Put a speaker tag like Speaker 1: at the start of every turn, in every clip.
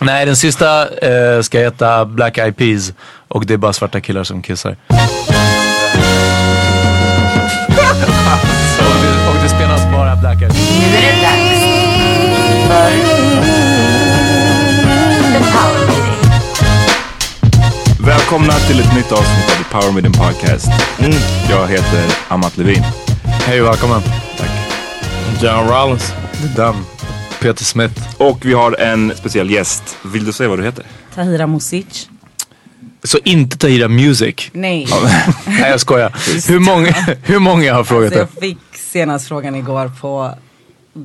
Speaker 1: Nej, den sista eh, ska heta Black Eyed Peas och det är bara svarta killar som kissar. och, det, och det spelas bara Black Eyed Peas.
Speaker 2: Nu är det dags för The Power Meeting.
Speaker 3: Välkomna till ett nytt avsnitt av The Power Meeting Podcast. Jag heter Amat Levin.
Speaker 1: Mm. Hej och välkommen.
Speaker 4: John Rollins.
Speaker 1: Det är Dan. Peter Smith.
Speaker 3: Och vi har en speciell gäst. Vill du säga vad du heter?
Speaker 2: Tahira Mosic.
Speaker 1: Så inte Tahira Music.
Speaker 2: Nej.
Speaker 1: Nej, jag skojar. Hur många, hur många har frågat
Speaker 2: Så
Speaker 1: det?
Speaker 2: Alltså, jag fick senast frågan igår på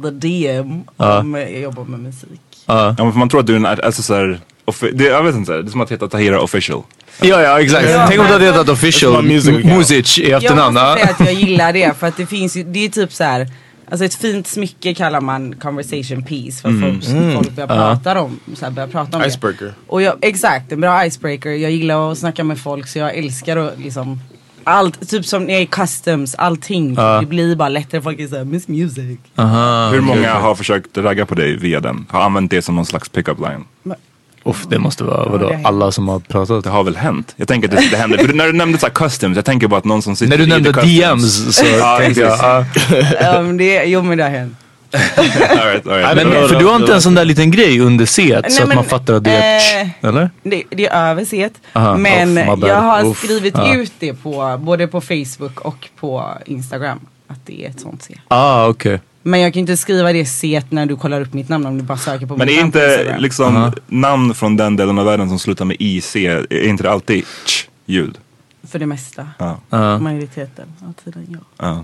Speaker 2: the DM om jag jobbar med musik.
Speaker 3: Ja, men för man tror att du är en, art- alltså så här, offi- det, jag vet inte, så här, det är som att heta Tahira official.
Speaker 1: Ja, ja, exakt.
Speaker 2: Ja,
Speaker 1: Tänk om du hade
Speaker 2: men-
Speaker 1: hetat official
Speaker 4: It's my music account.
Speaker 1: Music i
Speaker 2: Jag
Speaker 1: efternamn.
Speaker 2: måste
Speaker 1: ja.
Speaker 2: säga att jag gillar det för att det finns ju, det är typ så här. Alltså ett fint smycke kallar man conversation piece för att folk, folk börjar prata om, så här, börjar prata om
Speaker 4: Icebreaker.
Speaker 2: det. Och jag, exakt, en bra icebreaker. Jag gillar att snacka med folk så jag älskar att liksom allt, typ som när jag är i customs, allting. Det blir bara lättare, folk är såhär, miss music.
Speaker 1: Aha.
Speaker 3: Hur många har försökt ragga på dig via den? Har använt det som någon slags pickup line?
Speaker 1: Uff, det måste vara
Speaker 2: det
Speaker 1: vadå,
Speaker 2: har
Speaker 1: alla som har pratat.
Speaker 3: Det har väl hänt? Jag tänker att det, det händer. För när du nämnde så här customs, jag tänker bara att någon som sitter
Speaker 1: När du
Speaker 3: i the
Speaker 1: nämnde
Speaker 3: customs-
Speaker 1: DMs så
Speaker 3: Ja,
Speaker 1: tänkte jag,
Speaker 3: precis.
Speaker 1: ah.
Speaker 2: um, det, jo men det har hänt.
Speaker 3: all right, all right.
Speaker 1: Men,
Speaker 4: det var-
Speaker 1: för
Speaker 4: det
Speaker 1: du
Speaker 4: var-
Speaker 1: har inte en sån där liten grej under C
Speaker 2: Nej,
Speaker 1: så att
Speaker 2: men,
Speaker 1: man fattar att det är ett,
Speaker 2: eh,
Speaker 1: eller?
Speaker 2: Det, det är över set.
Speaker 1: Aha,
Speaker 2: men
Speaker 1: uff, my bad.
Speaker 2: jag har
Speaker 1: Uff,
Speaker 2: skrivit
Speaker 1: ja.
Speaker 2: ut det på både på Facebook och på Instagram. Att det är ett sånt C.
Speaker 1: Ah, okej.
Speaker 2: Men jag kan inte skriva det C när du kollar upp mitt namn om du bara söker på
Speaker 3: Men
Speaker 2: mitt
Speaker 3: är
Speaker 2: namn på
Speaker 3: inte
Speaker 2: Instagram.
Speaker 3: liksom namn från den delen av världen som slutar med IC, är inte det alltid tch ljud?
Speaker 1: liksom-
Speaker 2: För det mesta.
Speaker 3: Ja.
Speaker 2: Majoriteten av tiden ja.
Speaker 3: Ja.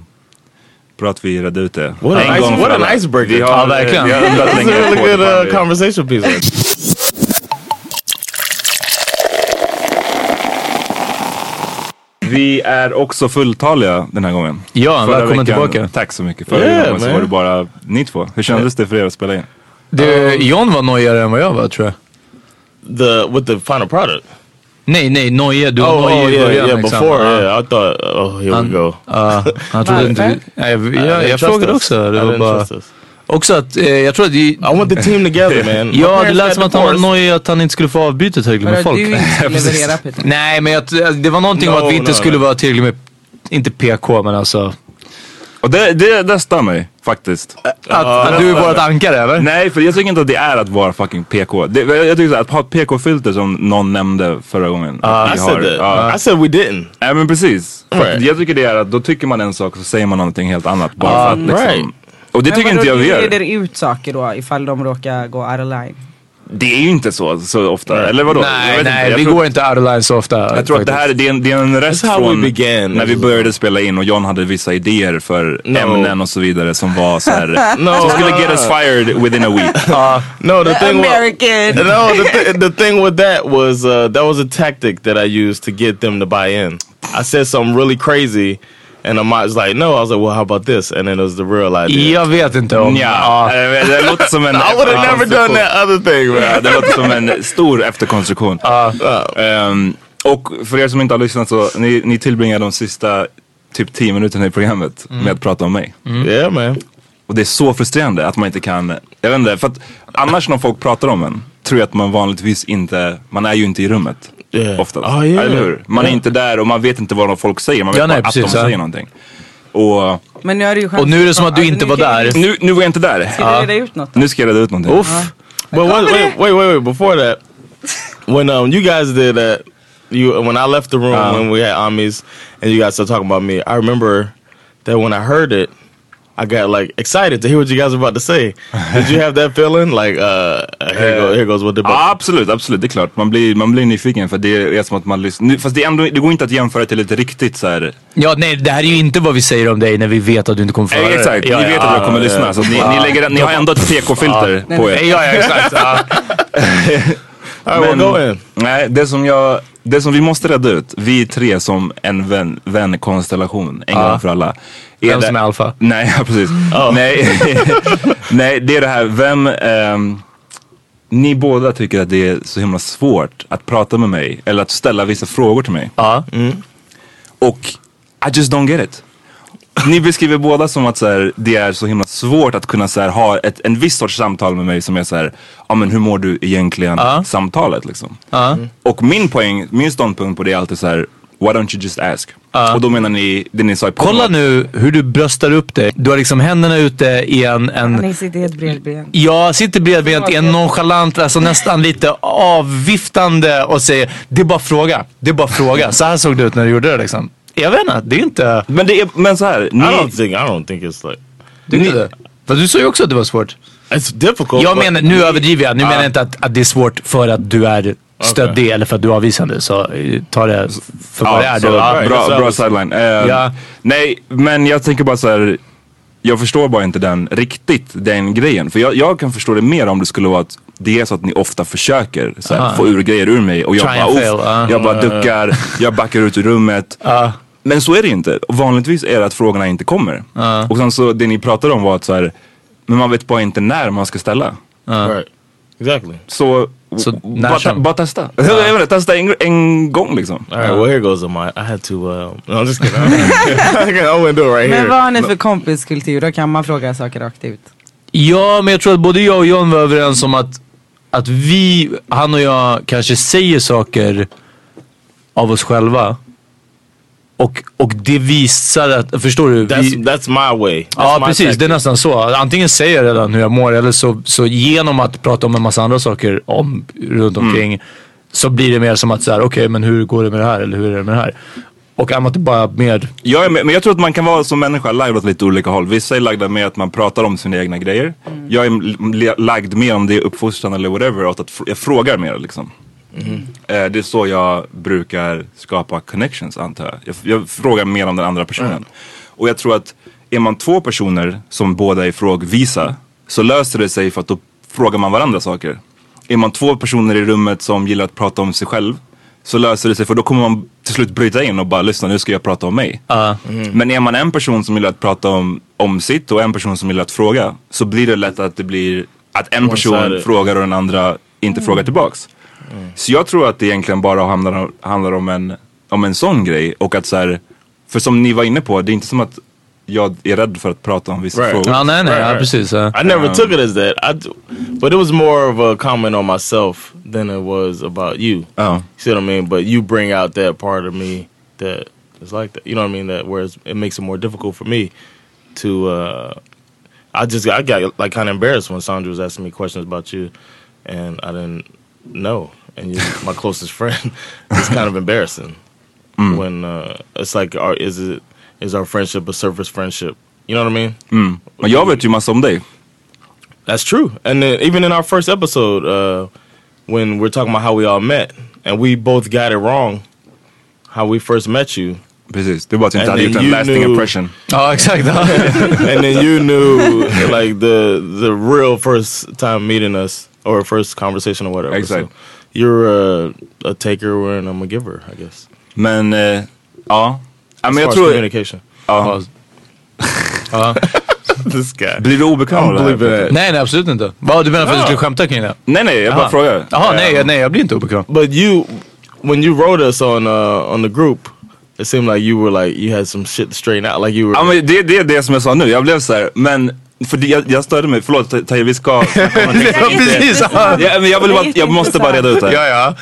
Speaker 3: Bra att vi redde ut det.
Speaker 4: What an,
Speaker 3: En
Speaker 4: ice,
Speaker 3: gång för
Speaker 4: what an
Speaker 3: alla.
Speaker 4: icebreaker.
Speaker 3: Vi har,
Speaker 1: Ja, verkligen.
Speaker 3: vi har undrat
Speaker 4: That's a
Speaker 3: länge.
Speaker 4: really
Speaker 3: på
Speaker 4: good
Speaker 3: ifall
Speaker 4: uh,
Speaker 3: vi-
Speaker 4: conversation piece.
Speaker 3: Vi är också fulltaliga den här gången.
Speaker 1: Ja,
Speaker 3: Förra veckan-
Speaker 1: välkommen tillbaka.
Speaker 3: Tack så mycket. Förra
Speaker 4: Yeah,
Speaker 3: gången så
Speaker 4: man.
Speaker 3: var det bara ni två. Hur kändes det för er att spela in?
Speaker 1: Du, John var nojigare än vad jag var tror jag.
Speaker 4: The with the final product.
Speaker 1: Nej, nej, nojig. Du var
Speaker 4: oh,
Speaker 1: nojig i
Speaker 4: yeah,
Speaker 1: början.
Speaker 4: yeah.
Speaker 1: liksom.
Speaker 4: Before,
Speaker 1: Ah.
Speaker 4: yeah, I thought, oh, here we go.
Speaker 1: Ja, han trodde inte... Nej, jag
Speaker 4: I
Speaker 1: jag,
Speaker 4: didn't
Speaker 1: jag
Speaker 4: trust
Speaker 1: frågade
Speaker 4: us.
Speaker 1: också.
Speaker 4: I
Speaker 1: Det var
Speaker 4: didn't
Speaker 1: bara...
Speaker 4: trust us.
Speaker 1: Också att, eh, jag tror att... det-
Speaker 4: I want the team together man. My
Speaker 1: Ja, det
Speaker 4: parents
Speaker 1: lät
Speaker 4: got
Speaker 1: som att han var
Speaker 4: divorced.
Speaker 1: nojig att han inte skulle få avbyta tillräckligt med
Speaker 2: Vadå,
Speaker 1: folk.
Speaker 2: du inte skulle leverera Peter?
Speaker 1: Nej, men jag, alltså, det var någonting om
Speaker 4: No,
Speaker 1: att vi inte
Speaker 4: no,
Speaker 1: skulle
Speaker 4: no.
Speaker 1: vara tillräckligt med... Inte PK, men alltså...
Speaker 3: Och det, det, det stör mig faktiskt.
Speaker 4: Eh.
Speaker 1: Att, att du är vårat ankare, eller?
Speaker 3: Nej, för jag tycker inte att det är att vara fucking PK. Det, jag tycker så här, att ha ett PK-filter som någon nämnde förra gången. att
Speaker 4: Uh, I
Speaker 3: vi
Speaker 4: said that.
Speaker 3: ja.
Speaker 4: I said we didn't.
Speaker 3: Nej men precis. För att
Speaker 4: Right.
Speaker 3: Jag tycker det är att då tycker man en sak och så säger man någonting helt annat. Bara för att liksom.
Speaker 4: Um, right.
Speaker 3: Och det tycker
Speaker 2: Men
Speaker 3: inte jag
Speaker 2: vadå,
Speaker 3: vi
Speaker 2: Du
Speaker 3: gör.
Speaker 2: reder ut saker då ifall de råkar gå out of line.
Speaker 3: Det är ju inte så, så ofta. Eller vadå? Jag
Speaker 1: Nej,
Speaker 3: vet
Speaker 1: nej,
Speaker 3: inte. Jag
Speaker 1: vi
Speaker 3: tror-
Speaker 1: går inte out of line så ofta.
Speaker 3: Jag tror att det här det är en, det är en rest
Speaker 4: That's how we
Speaker 3: från
Speaker 4: began.
Speaker 3: när vi började spela in och John hade vissa idéer för
Speaker 4: No.
Speaker 3: ämnen och så vidare som var så här.
Speaker 4: No,
Speaker 3: som skulle
Speaker 4: no,
Speaker 3: get
Speaker 4: no.
Speaker 3: us fired within a week.
Speaker 4: No, the thing was,
Speaker 2: American.
Speaker 4: no, the, th the thing with that was uh, that was a tactic that I used to get them to buy in. I said something really crazy, and I was like, "No," I was like, "Well, how about this?" And then it was the real idea.
Speaker 1: Jag vet inte om...
Speaker 3: Ja, det det låter som en...
Speaker 4: I would have never done that other thing,
Speaker 3: Ja,
Speaker 4: man.
Speaker 3: det låter som en stor efterkonstruktion. Ehm, och för er som inte har lyssnat så, ni, ni tillbringar de sista typ 10 minuterna i programmet
Speaker 4: Mm.
Speaker 3: med att prata om mig.
Speaker 4: Yeah, man.
Speaker 3: Och det är så frustrerande att man inte kan, jag vet inte, för att annars när folk pratar om en tror jag att man vanligtvis inte, man är ju inte i rummet.
Speaker 4: Yeah.
Speaker 3: Oftast.
Speaker 4: Ah, yeah.
Speaker 3: Eller hur? Man är inte där och man vet inte vad de folk säger, man vet
Speaker 1: Ja, nej,
Speaker 3: bara att de
Speaker 1: precis, ja.
Speaker 3: säger någonting. Och
Speaker 2: Men nu har du ju chans
Speaker 1: Och nu är det som att du
Speaker 2: Alltså,
Speaker 1: inte
Speaker 2: nu
Speaker 1: var
Speaker 2: kan
Speaker 1: där.
Speaker 2: jag-
Speaker 3: nu, nu var jag inte där.
Speaker 4: Ah.
Speaker 2: Ska du reda ut något då?
Speaker 3: Nu ska jag reda ut någonting.
Speaker 4: Oof. But wait, wait, wait, wait, wait. Before that, when um you guys did that, you when I left the room
Speaker 3: Uh.
Speaker 4: when we had Amis and you guys started talking about me, I remember that when I heard it, I got like excited to hear what you guys were about to say. did you have that feeling? Like uh here goes here goes what the
Speaker 3: Ja, absolut, absolut. Det är klart. Man blir, man blir nyfiken för det är som att man lyssnar. Nu- Fast det, är ändå, det går inte att jämföra till ett riktigt så här.
Speaker 1: Ja, nej, det här är ju inte vad vi säger om dig när vi vet att du inte kommer föra
Speaker 3: Eh,
Speaker 1: det.
Speaker 3: exakt,
Speaker 1: Ja,
Speaker 3: ni vet
Speaker 1: ja,
Speaker 3: att jag kommer
Speaker 1: ja,
Speaker 3: lyssna.
Speaker 1: ja.
Speaker 3: Så ni, ni, lägger, ni har ändå ett PK-filter på er.
Speaker 1: Nej, Ja, ja, exakt. Ja.
Speaker 4: All right, well, go in.
Speaker 3: nej, det som, jag, det som vi måste reda ut, vi tre som en vän, vänkonstellation en gång för alla. Är
Speaker 1: Vem
Speaker 3: det-
Speaker 1: som är alfa.
Speaker 3: Nej, ja, precis. Nej, nej, det är det här, vem... ehm, ni båda tycker att det är så himla svårt att prata med mig eller att ställa vissa frågor till mig.
Speaker 1: Ja.
Speaker 3: Och I just don't get it. Ni beskriver båda som att så här, det är så himla svårt att kunna så här, ha ett, en viss sorts samtal med mig som är så här, ja men hur mår du egentligen
Speaker 1: Ja.
Speaker 3: samtalet liksom.
Speaker 1: Ja.
Speaker 3: Och min poäng, min ståndpunkt på det är alltid så här, why don't you just ask? Och då menar ni det ni sa i podden.
Speaker 1: Kolla nu hur du bröstar upp dig. Du har liksom händerna ute i en... en
Speaker 2: Nej, sitt i ett bredben.
Speaker 1: jag sitter bredbent i en nonchalant, alltså nästan lite avviftande och säger det är bara fråga. Det är bara fråga. Så här såg det ut när du gjorde det liksom. Jag vet inte, det är inte...
Speaker 3: Men det är, men så här, ni,
Speaker 4: I don't think I don't think it's like
Speaker 1: Du, Fast du sa ju också att det var svårt.
Speaker 4: it's difficult.
Speaker 1: Jag
Speaker 4: but-
Speaker 1: menar, nu överdriver jag. Nu menar jag inte att, att det är svårt för att du är stöddig eller för att du är avvisande. Så eh, ta det för vad det är.
Speaker 3: så
Speaker 1: då. Ah,
Speaker 3: bra,
Speaker 4: right.
Speaker 3: bra, bra sideline. Eh,
Speaker 1: Ja.
Speaker 3: Nej, men jag tänker bara så här. Jag förstår bara inte den riktigt, den grejen. För jag, jag kan förstå det mer om det skulle vara att det är så att ni ofta försöker så här,
Speaker 1: Aha.
Speaker 3: få ur grejer ur mig och jag
Speaker 1: Try
Speaker 3: bara,
Speaker 1: and
Speaker 3: "Uff."
Speaker 1: fail, ja.
Speaker 3: jag bara duckar, jag backar ut ur rummet. Men så är det ju inte. Vanligtvis är det att frågorna inte kommer. Och sen så det ni pratade om var att så här, men man vet bara inte när man ska ställa.
Speaker 4: right. Exactly.
Speaker 3: Så,
Speaker 1: Så när
Speaker 3: bara, ta,
Speaker 1: som-
Speaker 3: bara testa. Jag vet inte, testa en, en gång liksom.
Speaker 4: All right, well here goes my I had to uh, no, I'm just kidding. I wouldn't do it right
Speaker 2: Men
Speaker 4: here.
Speaker 2: vad har ni för kompiskultur? Då kan man fråga saker rakt ut.
Speaker 1: Ja, men jag tror att både jag och John var överens om att, att vi, han och jag, kanske säger saker av oss själva. Och, och det visar att, förstår du?
Speaker 4: That's
Speaker 1: Vi,
Speaker 4: that's my way. That's
Speaker 1: ja,
Speaker 4: my
Speaker 1: precis.
Speaker 4: tactic.
Speaker 1: Det är nästan så. Antingen säger jag redan hur jag mår eller så, så genom att prata om en massa andra saker om, runt omkring så blir det mer som att så här, okej, men hur går det med det här? Eller hur är det med det här? Och annat är bara mer...
Speaker 3: Jag är med, men jag tror att man kan vara som människa lagd åt lite olika håll. Vissa är lagda med att man pratar om sina egna grejer. Jag är l- le- lagd mer om det är uppfostran eller whatever, åt att fr- jag frågar mer liksom. Eh, det är så jag brukar skapa connections antar jag. Jag, f- jag frågar mer om den andra personen. Och jag tror att är man två personer som båda är frågvisa så löser det sig för att då frågar man varandra saker. Är man två personer i rummet som gillar att prata om sig själv så löser det sig för då kommer man till slut bryta in och bara lyssna nu ska jag prata om mig.
Speaker 1: Ja.
Speaker 4: Mhm.
Speaker 3: Men är man en person som gillar att prata om, om sitt och en person som gillar att fråga så blir det lätt att det blir att en person
Speaker 4: One-sided.
Speaker 3: frågar och den andra inte frågar
Speaker 4: Mm.
Speaker 3: tillbaks. Så jag tror att det egentligen bara handlar om, handlar om, en, om en sån grej och att så här, för som ni var inne på, det är inte som att jag är rädd för att prata om vissa
Speaker 4: Right.
Speaker 3: frågor.
Speaker 1: Ja, nej, nej,
Speaker 4: Right,
Speaker 1: ja,
Speaker 4: right.
Speaker 1: precis. Ja.
Speaker 4: I never took it as that. I, d- but it was more of a comment on myself than it was about you.
Speaker 3: Ja.
Speaker 4: You see what I mean? But you bring out that part of me that is like that. You know what I mean? That whereas it makes it more difficult for me to. Uh, I just I got like kind of embarrassed when Sandra was asking me questions about you, and I didn't know. And you're my closest friend. it's kind of embarrassing when uh, it's like, our, is it is our friendship a surface friendship? You know what I mean?
Speaker 3: Men jag vet ju massa om dig.
Speaker 4: That's true. And then even in our first episode, uh, when we're talking about how we all met, and we both got it wrong, how we first met you,
Speaker 3: Precis, det är bara att jag inte
Speaker 4: And
Speaker 3: hade gjort
Speaker 4: then
Speaker 3: en
Speaker 4: you
Speaker 3: lasting
Speaker 4: knew-
Speaker 3: impression.
Speaker 1: Ja, exakt.
Speaker 4: and then you knew like the the real first time meeting us or first conversation or whatever.
Speaker 3: Exactly.
Speaker 4: So you're a, a taker and I'm a giver, I guess.
Speaker 3: Men, eh, ja. ja
Speaker 4: As far
Speaker 3: men jag
Speaker 4: as
Speaker 3: tror,
Speaker 4: communication.
Speaker 3: ja.
Speaker 4: This guy.
Speaker 3: Blir du obekväm av det här?
Speaker 4: Unbelievable.
Speaker 1: nej, nej absolut inte. Vad, du menar för att du skulle skämta kring det?
Speaker 3: Nej nej, jag bara
Speaker 1: Aha.
Speaker 3: frågar.
Speaker 1: Jaha,
Speaker 3: Eh,
Speaker 1: nej, nej jag blir inte obekväm.
Speaker 4: But you, when you wrote us on uh, on the group, it seemed like you were like you had some shit straightened out. Like you were.
Speaker 3: Ja men det, det är det som jag sa nu, jag blev så här, men för det, jag, jag störde mig, förlåt Taje vi ska snacka om det. ja, men jag, vill bara, jag måste bara reda ut det här.
Speaker 1: ja.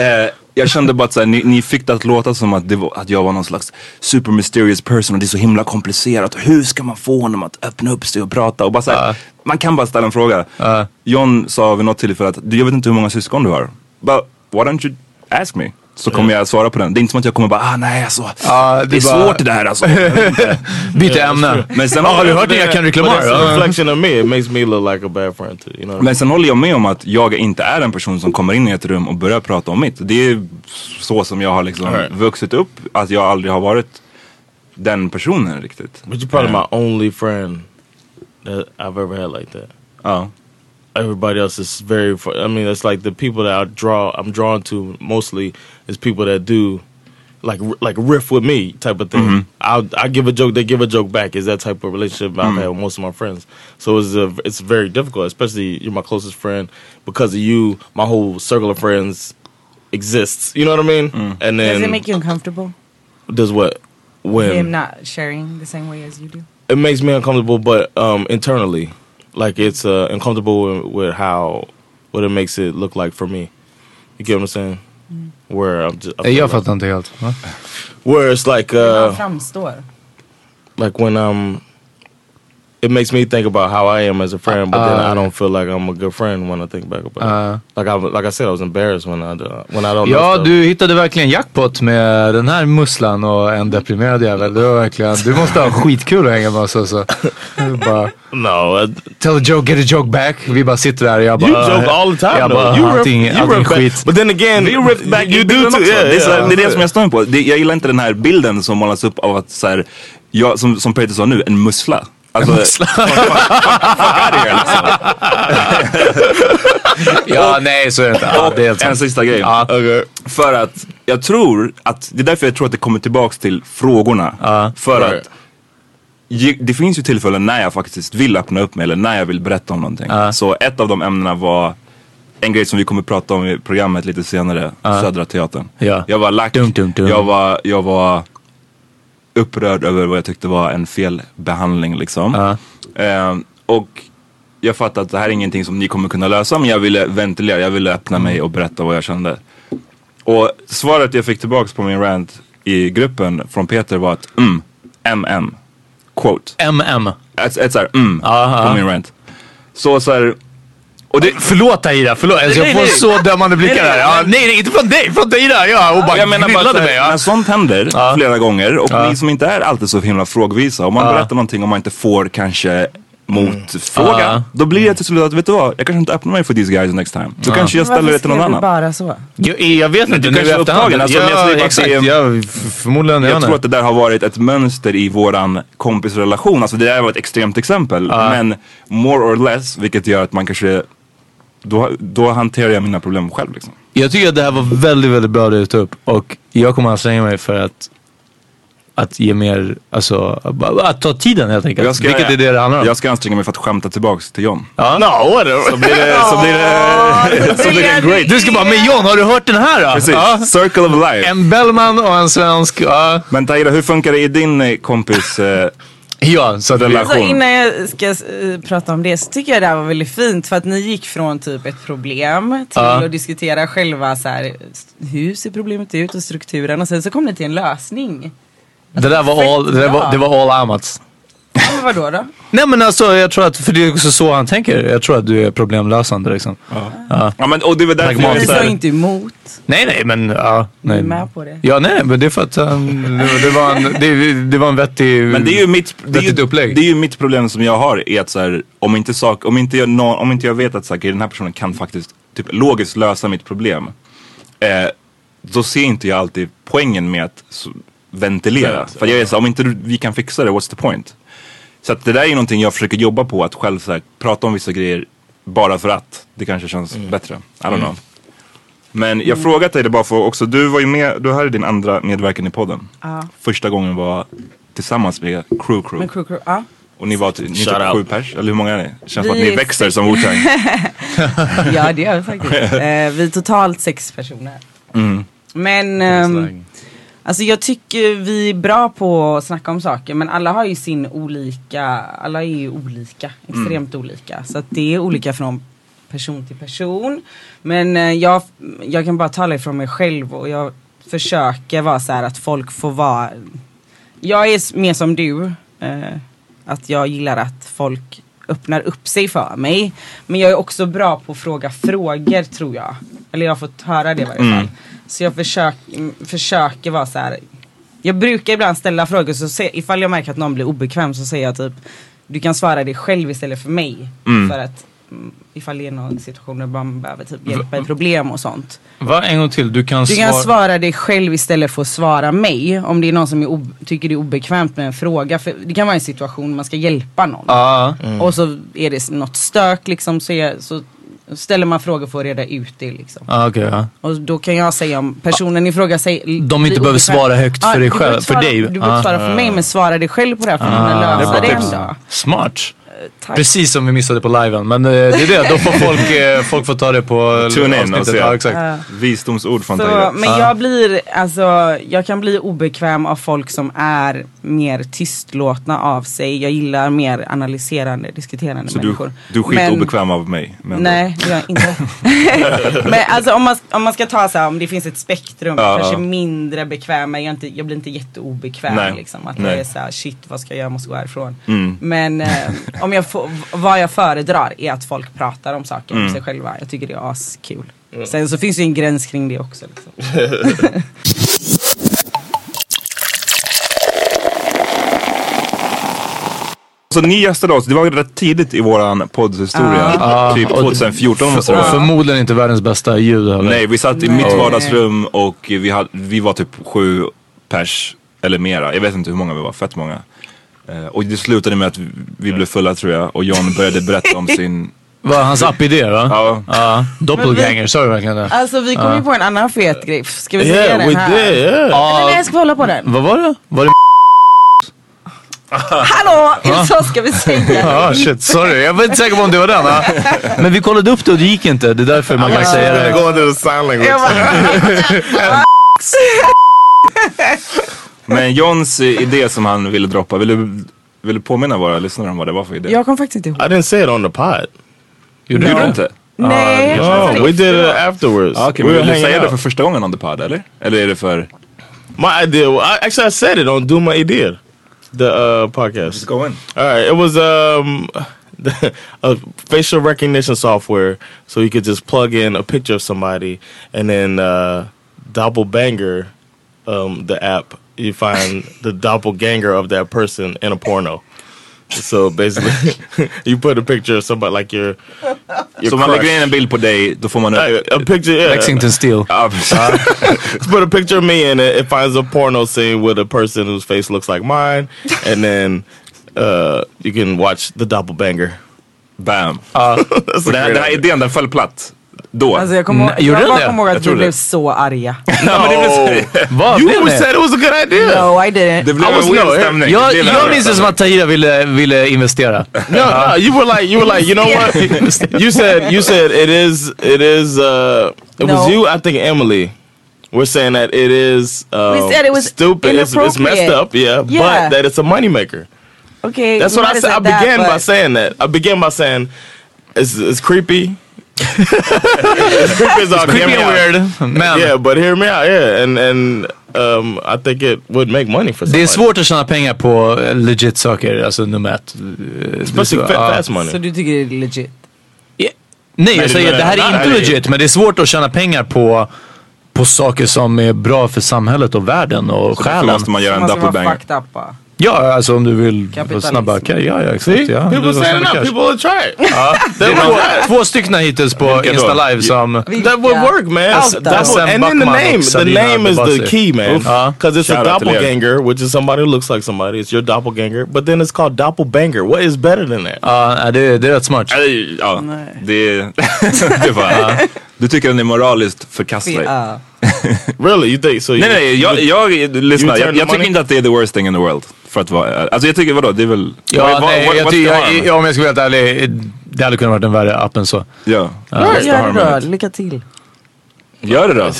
Speaker 3: Eh, jag kände bara att såhär, ni, ni fick det att låta som att, det var, att jag var någon slags super mysterious person och det är så himla komplicerat. Hur ska man få honom att öppna upp sig och prata? Och bara såhär,
Speaker 1: Ja.
Speaker 3: Man kan bara ställa en fråga.
Speaker 1: Ja.
Speaker 3: John sa vid något tillfälle att, du jag vet inte hur många syskon du har. But why don't you ask me? Så kommer jag svara på den. Det är inte som att jag kommer bara, ah nej alltså.
Speaker 1: Ja,
Speaker 3: det
Speaker 1: det
Speaker 3: är
Speaker 1: bara-
Speaker 3: svårt det där alltså.
Speaker 1: Byt ämne.
Speaker 3: Men sen,
Speaker 1: Ja, har du hört det? Jag kan
Speaker 4: but
Speaker 1: reklamera.
Speaker 4: that's a
Speaker 1: Ja.
Speaker 4: reflection of me. It makes me look like a bad friend too. You know. what I mean?
Speaker 3: Men sen håller jag med om att jag inte är en person som kommer in i ett rum och börjar prata om mitt. Det är så som jag har liksom
Speaker 4: All right.
Speaker 3: vuxit upp, att jag aldrig har varit den personen riktigt. Eh,
Speaker 4: But you're probably my only friend that I've ever had like that.
Speaker 3: Ja.
Speaker 4: Everybody else is very. fu- I mean, it's like the people that I draw. I'm drawn to mostly is people that do. Like r- like riff with me type of thing. I'll I give a joke, they give a joke back. Is that type of relationship I've had with most of my friends. So it's a, it's very difficult, especially you're my closest friend. Because of you, my whole circle of friends exists. You know what I mean? And then
Speaker 2: Does
Speaker 3: Um,
Speaker 2: it make you uncomfortable?
Speaker 4: does what when
Speaker 2: Him not sharing the same way as you do.
Speaker 4: it makes me uncomfortable, but um, internally, like it's uh, uncomfortable with, with how what it makes it look like for me. You get what I'm saying? Where I'm just I'm
Speaker 1: Nej, Jag fattar inte helt. Va?
Speaker 4: where it's like
Speaker 2: Han
Speaker 4: uh,
Speaker 2: framstår.
Speaker 4: like when I'm. It makes me think about how I am as a friend, but then I don't feel like I'm a good friend when I think back about
Speaker 1: Uh.
Speaker 4: it. Like I like I said, I was embarrassed when I do- when I don't. know
Speaker 1: Ja,
Speaker 4: stuff.
Speaker 1: du hittade verkligen jackpot med den här musslan och en deprimerad jävel. Det var verkligen, du måste ha skitkul att hänga med oss alltså. Vi Bara,
Speaker 4: no. I,
Speaker 1: Tell a joke, get a joke back. Vi bara sitter där och jag bara...
Speaker 4: You joke all the time
Speaker 1: jag
Speaker 4: though.
Speaker 1: bara,
Speaker 4: you
Speaker 1: allting,
Speaker 4: riff, you
Speaker 1: allting
Speaker 4: riff back.
Speaker 1: skit.
Speaker 4: But then again,
Speaker 3: Vi ripped back
Speaker 4: you
Speaker 3: i
Speaker 4: do
Speaker 3: bilden
Speaker 4: too.
Speaker 3: också.
Speaker 4: Yeah,
Speaker 3: det, är så här,
Speaker 4: yeah.
Speaker 3: det är det som jag stör mig på. Det, jag gillar inte den här bilden som målas upp av att så här, jag, som, som Peter sa nu, en mussla. Alltså, fuck, fuck, fuck out of here liksom.
Speaker 1: Ja, nej så är det inte. Ja, det är helt
Speaker 3: en
Speaker 1: sant.
Speaker 3: sista grej.
Speaker 1: Ja.
Speaker 3: För att jag tror att, det är därför jag tror att det kommer tillbaks till frågorna.
Speaker 1: Ja.
Speaker 3: För
Speaker 4: Right.
Speaker 3: att ju- det finns ju tillfällen när jag faktiskt vill öppna upp mig eller när jag vill berätta om någonting.
Speaker 1: Ja.
Speaker 3: Så ett av de ämnena var en grej som vi kommer prata om i programmet lite senare, Södra Teatern.
Speaker 1: Ja.
Speaker 3: Jag var lack,
Speaker 1: Dum, dum, dum.
Speaker 3: Jag, var, jag var upprörd över vad jag tyckte var en felbehandling liksom.
Speaker 1: Ja.
Speaker 3: Ehm, och jag fattar att det här är ingenting som ni kommer kunna lösa men jag ville ventilera, jag ville öppna mig och berätta vad jag kände. Och svaret jag fick tillbaks på min rant i gruppen från Peter var att mm, mm, quote.
Speaker 1: MM.
Speaker 3: Ett, ett såhär mm
Speaker 1: Aha.
Speaker 3: på min rant. Så såhär, och det,
Speaker 1: Förlåt Tahira, förlåt. Alltså, Jag ska
Speaker 3: Nej,
Speaker 1: få
Speaker 3: nej.
Speaker 1: så dömande blickar här. Ja, nej, nej, inte från dig, från Tahira. Ja, och bara
Speaker 3: jag menar bara
Speaker 1: grillade
Speaker 3: såhär,
Speaker 1: mig. Ja.
Speaker 3: när sånt händer flera gånger och ni som inte är alltid så himla frågvisa, om man berättar någonting och man inte får kanske motfråga,
Speaker 1: Ja.
Speaker 3: då blir jag till slut att, vet du vad, jag kanske inte öppnar mig för these guys next time. Då kanske jag ställer det till någon
Speaker 2: Varför skrev du
Speaker 3: annan.
Speaker 2: bara så?
Speaker 1: Jag, jag vet inte, nu i
Speaker 3: kanske var upptagen,
Speaker 1: efterhand.
Speaker 3: alltså, men jag
Speaker 1: ja,
Speaker 3: säger bara att
Speaker 1: exakt.
Speaker 3: det är-
Speaker 1: Ja, f- förmodligen.
Speaker 3: Jag tror att
Speaker 1: det...
Speaker 3: det där har varit ett mönster i våran kompisrelation. Alltså det där var ett extremt exempel. Men more or less, vilket gör att man kanske, då, då hanterar jag mina problem själv liksom.
Speaker 1: jag tycker att det här var väldigt, väldigt bra det du tog upp. Och jag kommer anstränga mig för att, att ge mer, alltså, att ta tiden helt enkelt.
Speaker 3: Jag ska-
Speaker 1: Vilket är det det handlar om.
Speaker 3: Jag ska anstränga mig för att skämta tillbaks till John.
Speaker 1: ja. no, whatever.
Speaker 3: Så blir det, så blir det, så blir det en great.
Speaker 1: Du ska bara, men John, har du hört den här då?
Speaker 3: Precis,
Speaker 1: Ja.
Speaker 3: circle of life.
Speaker 1: En Bellman och en svensk. ja.
Speaker 3: Men Tahira, hur funkar det i din eh, kompis... Eh,
Speaker 1: ja, så att det
Speaker 3: Relation.
Speaker 1: lär.
Speaker 2: Så innan jag ska eh, prata om det så tycker jag det här var väldigt fint för att ni gick från typ ett problem till
Speaker 1: Ja.
Speaker 2: att diskutera själva så här, hur ser problemet ut och strukturen och sen så kom ni till en lösning.
Speaker 1: Det där var all, det där var, det var all Amats.
Speaker 2: vadå då?
Speaker 1: Nej men alltså jag tror att, för det är också så han tänker. Jag tror att du är problemlösande liksom.
Speaker 3: Ja, men, och det var därför
Speaker 1: Pragmatiskt.
Speaker 2: Vi
Speaker 3: jag, så
Speaker 2: sa
Speaker 3: här,
Speaker 2: inte emot.
Speaker 1: Nej nej men ja.
Speaker 2: Du är
Speaker 1: Nej.
Speaker 2: med på det.
Speaker 1: Ja nej men det är för att han, det- det, var en, det, det var en vettig...
Speaker 3: Men det är ju mitt, det är ju,
Speaker 1: Vettigt upplägg.
Speaker 3: det är ju mitt problem som jag har är att så här, om inte sak, om inte jag, nå- om inte jag vet att så här, okej, den här personen kan faktiskt typ logiskt lösa mitt problem. Eh, då ser inte jag alltid poängen med att s- ventilera. För jag är så här, om inte du, vi kan fixa det, what's the point? Så att det där är någonting jag försöker jobba på, att själv så här, prata om vissa grejer bara för att det kanske känns
Speaker 2: Mm.
Speaker 3: bättre. I don't know. Men jag frågat dig det bara för också, du var ju med, du här är din andra medverkan i podden.
Speaker 2: Ja.
Speaker 3: Första gången var tillsammans med Crew Crew.
Speaker 2: Men crew, crew, ja.
Speaker 3: Och ni var typ ni
Speaker 4: Shout
Speaker 3: typ
Speaker 4: out.
Speaker 3: sju pers, eller hur många är ni? Känns som att
Speaker 2: Vi
Speaker 3: ni
Speaker 2: är
Speaker 3: växer som Wu-Tang.
Speaker 2: ja det gör vi faktiskt. Eh, vi är totalt sex personer. Men ehm, alltså jag tycker vi är bra på att snacka om saker men alla har ju sin olika, alla är ju olika, extremt olika. Så att det är olika från person till person. Men eh, jag, jag kan bara tala ifrån mig själv och jag försöker vara så här att folk får vara jag är s- mer som du. Eh, att jag gillar att folk öppnar upp sig för mig. Men jag är också bra på att fråga frågor tror jag. Eller jag har fått höra det i varje fall. Så jag försök, mm, försöker vara så här. Jag brukar ibland ställa frågor så se, ifall jag märker att någon blir obekväm så säger jag typ Du kan svara det själv istället för mig. För att mm, ifall det är någon situation där man behöver typ hjälpa i problem och sånt.
Speaker 1: Va? En gång till. Du kan,
Speaker 2: Du kan svara dig själv istället för att svara mig. Om det är någon som är ob- tycker det är obekvämt med en fråga. För det kan vara en situation man ska hjälpa någon.
Speaker 1: Ja.
Speaker 2: Och så är det s- något stök liksom. Så, är, så ställer man frågor för att reda ut det liksom.
Speaker 1: Ah, okej, ja.
Speaker 2: Och då kan jag säga om personen i fråga säger... De
Speaker 1: inte behöver svara högt för dig själv- för dig.
Speaker 2: Du behöver
Speaker 1: Ah.
Speaker 2: inte svara för mig men svara dig själv på det här för att kunna
Speaker 3: Det
Speaker 2: lösa
Speaker 3: är bra
Speaker 2: det
Speaker 3: tips.
Speaker 2: en dag.
Speaker 1: Smart.
Speaker 2: Tack.
Speaker 1: Precis som vi missade på liven. Men eh, det är det, då får folk, eh, folk får ta det på
Speaker 3: Tune in och
Speaker 1: avsnittet.
Speaker 3: se.
Speaker 1: Ja, exakt.
Speaker 3: Visdomsord från
Speaker 2: Så,
Speaker 3: Tahir.
Speaker 2: men jag blir, alltså, jag kan bli obekväm av folk som är mer tystlåtna av sig. Jag gillar mer analyserande, diskuterande
Speaker 3: Så du,
Speaker 2: människor.
Speaker 3: du är
Speaker 2: Men-
Speaker 3: skitobekväm av mig. Men
Speaker 2: Nej, det gör jag inte. men alltså om man, om man ska ta så här, om det finns ett spektrum,
Speaker 3: Ja,
Speaker 2: kanske
Speaker 3: ja.
Speaker 2: mindre bekväm, men jag, är inte, jag blir inte jätteobekväm
Speaker 3: Nej.
Speaker 2: liksom. Att
Speaker 3: Nej. Mm.
Speaker 2: jag är så här, shit vad ska jag göra, jag måste gå härifrån. Men eh, om jag får, vad jag föredrar är att folk pratar om saker,
Speaker 3: Mm.
Speaker 2: om sig själva. Jag tycker det är askul. Sen så finns det ju en gräns kring det också. Liksom.
Speaker 3: Så ni gästade oss, det var rätt tidigt i våran poddhistoria. Typ 2014 måste det
Speaker 1: Och
Speaker 3: vara.
Speaker 1: förmodligen inte världens bästa ljud heller.
Speaker 3: Nej, vi satt i
Speaker 2: Nej.
Speaker 3: mitt vardagsrum och vi, hade, vi var typ sju pers eller mera. Jag vet inte hur många vi var, fett många. Eh, och det slutade med att vi, vi blev fulla tror jag och John började berätta om sin...
Speaker 1: Var hans app-idé va?
Speaker 3: Ja,
Speaker 1: Ja. Doppelganger, sa du verkligen det?
Speaker 2: Alltså vi kom ju på en annan fet grej. Ska vi säga
Speaker 4: Yeah,
Speaker 2: den
Speaker 4: we
Speaker 2: här?
Speaker 4: did. Yeah.
Speaker 2: Eller nej, jag ska hålla på den.
Speaker 1: Vad var det? Var det
Speaker 2: Hallå! Eller så ska vi säga.
Speaker 1: ah, shit, sorry. Jag var inte säker på om det var den. ah. Men vi kollade upp det och det gick inte. Det är därför man kan säga
Speaker 4: We're
Speaker 1: det.
Speaker 4: going to the sign language.
Speaker 2: Jag bara,
Speaker 3: men Johns eh, idé som han ville droppa, vill du, vill du påminna våra lyssnare om vad det var för idé?
Speaker 2: jag kom faktiskt inte ihåg.
Speaker 4: I didn't say it on the pod.
Speaker 1: Gjorde
Speaker 3: Gjorde
Speaker 1: det?
Speaker 3: du inte?
Speaker 2: Nej.
Speaker 4: No, Oh, we did it afterwards.
Speaker 3: Ah, Okej,
Speaker 4: we were
Speaker 3: men vill du
Speaker 4: hanging
Speaker 3: säga det
Speaker 4: out.
Speaker 3: för första gången on the pod eller? Eller är det för...
Speaker 4: My idea. Well, I, actually, I said it on Do My Idea, the uh, podcast.
Speaker 3: Go in.
Speaker 4: All right, it was um, a facial recognition software, so you could just plug in a picture of somebody, and then uh, Doppelbanger, um, the app, you find the doppelganger of that person in a porno. So basically, you put a picture of somebody like your, your
Speaker 3: Så man
Speaker 4: crush.
Speaker 3: lägger in en bild på dig, då får man upp...
Speaker 4: Like, a picture, yeah.
Speaker 1: Lexington Steel.
Speaker 3: Ja, precis.
Speaker 4: put a picture of me in it. It finds a porno scene with a person whose face looks like mine, and then uh, you can watch the doppelbanger.
Speaker 3: Bam.
Speaker 4: That's
Speaker 3: Så
Speaker 4: a
Speaker 3: den, här-
Speaker 4: great
Speaker 3: den
Speaker 4: idea.
Speaker 3: här idén den föll platt. Då.
Speaker 2: Alltså jag kommer
Speaker 1: Nej, gjorde
Speaker 2: jag
Speaker 1: den
Speaker 2: bara
Speaker 1: det?
Speaker 2: kommer ihåg att vi
Speaker 3: tror
Speaker 2: blev
Speaker 3: det.
Speaker 2: så arga.
Speaker 3: Ja, men det blev så-
Speaker 1: Vad blev
Speaker 4: You
Speaker 1: det?
Speaker 4: said Oh, it was a good idea.
Speaker 2: No I didn't.
Speaker 3: Det blev
Speaker 4: I was
Speaker 3: en
Speaker 4: no-
Speaker 3: weird stämning.
Speaker 1: Jag,
Speaker 3: Det är
Speaker 1: jag
Speaker 3: väl-
Speaker 1: minns det som att Tahira ville, ville investera.
Speaker 4: No, no, you were like, you were like, you know what? you said, you said it is, it is. Uh, it
Speaker 2: No.
Speaker 4: was you, I think, Emily. We're saying that it is. Uh,
Speaker 2: We said it was
Speaker 4: stupid. It's, it's messed
Speaker 2: inappropriate.
Speaker 4: up, yeah,
Speaker 2: Yeah.
Speaker 4: But that it's a moneymaker.
Speaker 2: Okej,
Speaker 4: That's
Speaker 2: we
Speaker 4: what I
Speaker 2: might
Speaker 4: said. I
Speaker 2: have said that,
Speaker 4: began by
Speaker 2: but-
Speaker 4: saying that. I began by saying it's, it's creepy. it's creepy as all
Speaker 1: Creepy
Speaker 4: damn
Speaker 1: and
Speaker 4: out.
Speaker 1: weird. Men
Speaker 4: Yeah, but hear me out. Yeah, and and um, I think it would make money for
Speaker 1: Det
Speaker 4: somebody.
Speaker 1: är svårt att tjäna pengar på eh, legit saker, alltså nummer ett.
Speaker 4: Especially fa- fast
Speaker 1: Uh,
Speaker 4: money.
Speaker 2: Så du tycker det är legit?
Speaker 1: Nej, jag
Speaker 4: det
Speaker 1: säger
Speaker 4: menar
Speaker 1: det här
Speaker 4: jag.
Speaker 1: är
Speaker 4: Nej,
Speaker 1: inte
Speaker 4: det är-
Speaker 1: legit, men det är svårt att tjäna pengar på, på saker som är bra för samhället och världen och
Speaker 3: Så därför
Speaker 1: själen.
Speaker 3: måste man göra en
Speaker 2: Man ska vara
Speaker 3: doppelbanger.
Speaker 2: fucked up bara.
Speaker 1: Ja, alltså om du vill
Speaker 2: Kapitalism.
Speaker 1: snabba cash. Ja, ja, exakt.
Speaker 4: See?
Speaker 1: Ja, om du
Speaker 4: people
Speaker 1: vill ha
Speaker 4: standing up.
Speaker 1: snabba cash. Uh,
Speaker 4: People will try it.
Speaker 1: Det är två, två stycken hittills på
Speaker 3: Vilka då?
Speaker 1: Insta live som...
Speaker 4: That would
Speaker 2: Yeah. Oh,
Speaker 4: work, man.
Speaker 1: That's- that's
Speaker 4: Double- and then the
Speaker 1: Backman,
Speaker 4: name. The
Speaker 1: Sabina
Speaker 4: name is the
Speaker 1: Abbasi.
Speaker 4: key, man.
Speaker 1: Oof. Uh-huh.
Speaker 4: Because it's
Speaker 3: Shout
Speaker 4: a
Speaker 3: out to Larry.
Speaker 4: doppelganger, which is somebody who looks like somebody. It's your doppelganger. But then it's called doppelbanger. What is better than that?
Speaker 1: Ja, nej, det, det är rätt smart.
Speaker 3: Nej, Ja,
Speaker 2: Nej.
Speaker 3: det, det var, du tycker den är moraliskt förkastlig?
Speaker 2: Ja.
Speaker 4: really? You think so? You,
Speaker 3: Nej nej, jag, jag, lyssna,
Speaker 4: turn
Speaker 3: jag,
Speaker 4: the
Speaker 3: jag tycker
Speaker 4: money?
Speaker 3: inte att det är the worst thing in the world. För att vara, alltså jag tycker vadå, det är väl...
Speaker 1: Ja,
Speaker 3: what-
Speaker 1: nej,
Speaker 3: what-
Speaker 1: jag
Speaker 3: what's
Speaker 1: ty-
Speaker 3: the
Speaker 1: jag,
Speaker 3: harm?
Speaker 1: ja, om jag ska vara helt ärlig, det hade kunnat varit en värre app än så.
Speaker 3: Ja.
Speaker 2: Ja,
Speaker 3: What's the
Speaker 2: Gör
Speaker 3: harm
Speaker 2: det
Speaker 3: in
Speaker 2: då,
Speaker 3: it?
Speaker 2: lycka till.
Speaker 3: Gör det då.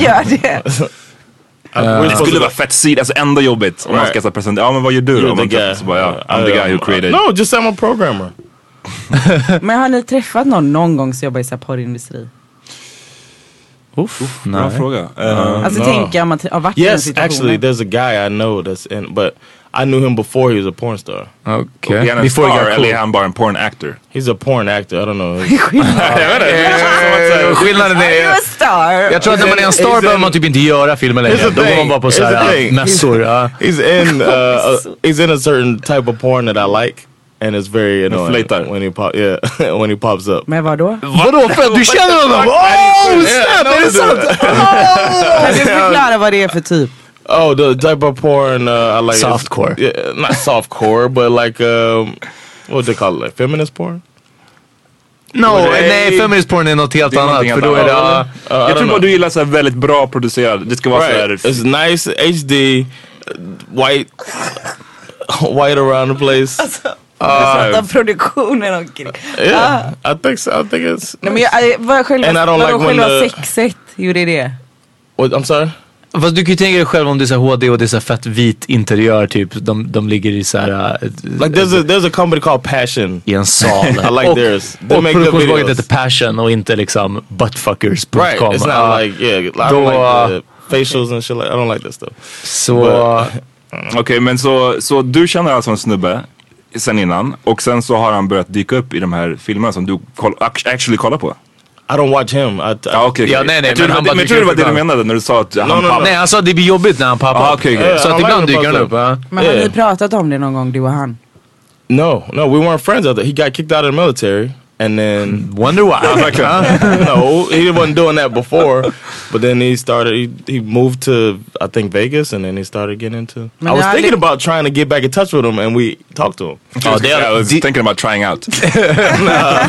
Speaker 2: Gör det.
Speaker 4: Uh, we're
Speaker 3: Det
Speaker 4: supposed
Speaker 3: skulle
Speaker 4: to-
Speaker 3: vara fett sid, alltså ändå jobbigt om man ska
Speaker 4: Right.
Speaker 3: så presentera, ja men vad gör du då?
Speaker 4: You're
Speaker 3: Om
Speaker 4: the
Speaker 3: man träffas
Speaker 4: guy.
Speaker 3: så bara, ja,
Speaker 4: Uh,
Speaker 3: I'm the guy
Speaker 4: I'm-
Speaker 3: who created...
Speaker 4: No, just I'm a programmer.
Speaker 2: Men har ni träffat någon någon gång som jobbar i så här porrindustri?
Speaker 1: Uff,
Speaker 3: Bra
Speaker 1: nej.
Speaker 3: fråga. Eh,
Speaker 2: Alltså
Speaker 4: no.
Speaker 2: tänk om man t- har varit i den
Speaker 4: Yes,
Speaker 2: situationen.
Speaker 4: actually, there's a guy I know that's in, but I knew him before he was a porn star.
Speaker 1: Okej.
Speaker 3: Är han en
Speaker 1: Before you
Speaker 3: star
Speaker 1: got
Speaker 3: eller
Speaker 1: cool.
Speaker 3: är han bara en porn actor?
Speaker 4: He's a porn actor. I don't know.
Speaker 1: Eh, Skillnaden
Speaker 2: Are you
Speaker 1: är...
Speaker 2: a star?
Speaker 1: Jag tror att när man är en star behöver man typ inte göra filmer längre.
Speaker 4: Here's the
Speaker 1: Då går
Speaker 4: thing.
Speaker 1: man bara på
Speaker 4: Here's the
Speaker 1: såhär
Speaker 4: thing.
Speaker 1: mässor. ja.
Speaker 4: He's in uh, uh, he's in a certain type of porn that I like, and it's very annoying
Speaker 3: Inflator.
Speaker 4: when he pop yeah when he pops up.
Speaker 2: Men vadå?
Speaker 1: Vadå? För du känner honom? Oh snap! Är det sant?
Speaker 2: Kan du förklara vad det är för typ?
Speaker 4: Oh, the type of porn uh, I like is-
Speaker 1: Softcore.
Speaker 4: Yeah, not softcore, but like um, what do they call it? Like feminist porn.
Speaker 1: No,
Speaker 4: Nej.
Speaker 1: nej feminist porn är något helt
Speaker 3: Det är
Speaker 1: annat.
Speaker 3: någonting helt
Speaker 1: För då är det...
Speaker 3: annat.
Speaker 1: ah,
Speaker 4: Uh, I
Speaker 3: jag
Speaker 4: don't
Speaker 3: tror
Speaker 4: know.
Speaker 3: bara du gillar såhär väldigt bra producerad, det ska vara
Speaker 4: Right.
Speaker 3: såhär...
Speaker 4: It's nice HD, white, white around the place. Uh,
Speaker 2: Utan produktionen omkring.
Speaker 4: Yeah, I think so. I think it's.
Speaker 2: Nej men jag, eh, vad själva,
Speaker 4: And I don't
Speaker 2: vadå
Speaker 4: like when
Speaker 2: själva
Speaker 4: the-
Speaker 2: sexet gjorde det?
Speaker 4: What, I'm sorry.
Speaker 1: Fast du kan ju tänka dig själv om det är så här HD och det är så här fett vit interiör typ. De, de ligger i så här eh,
Speaker 4: Like there's a there's a company called Passion.
Speaker 1: i en sal.
Speaker 4: I like
Speaker 1: och
Speaker 4: theirs. They
Speaker 1: och
Speaker 4: make good
Speaker 1: produktionsbolaget
Speaker 4: videos.
Speaker 1: heter Passion och inte liksom buttfuckers.com.
Speaker 4: Right. It's not
Speaker 1: Ah,
Speaker 4: like yeah. I
Speaker 1: då-
Speaker 4: don't like the Uh, facials and shit. Like I don't like that stuff.
Speaker 1: så...
Speaker 3: Okej men så, så du känner alltså en snubbe sen innan och sen så har han börjat dyka upp i de här filmerna som du koll, act- actually kollar på?
Speaker 4: I don't watch him. I, I
Speaker 3: Ja okej.
Speaker 1: Ja, nej, nej,
Speaker 3: jag tror
Speaker 1: men
Speaker 3: det var-
Speaker 1: han bara
Speaker 3: men jag tror det var
Speaker 1: dyker
Speaker 3: det
Speaker 1: upp
Speaker 3: du
Speaker 1: ibland.
Speaker 3: menade när du sa att han
Speaker 4: no, no.
Speaker 3: pappar.
Speaker 1: Nej, han sa att det blir jobbigt när han pappar.
Speaker 3: Ah, okej, okej.
Speaker 1: Så
Speaker 4: Ja, han
Speaker 1: att ibland
Speaker 4: var ju
Speaker 1: dyker han
Speaker 4: pappar.
Speaker 1: upp. ja.
Speaker 2: Men har ni pratat om det någon gång du och han?
Speaker 4: no no. We weren't friends after he got kicked out of the military and then
Speaker 1: Wonder why.
Speaker 4: no, he wasn't doing that before. But then he started. He, he moved to I think Vegas, and then he started getting into.
Speaker 2: Man,
Speaker 4: I was
Speaker 2: I
Speaker 4: thinking
Speaker 2: li-
Speaker 4: about trying to get back in touch with him, and we talked to him.
Speaker 2: Oh,
Speaker 3: Ja, det I was thinking about trying out.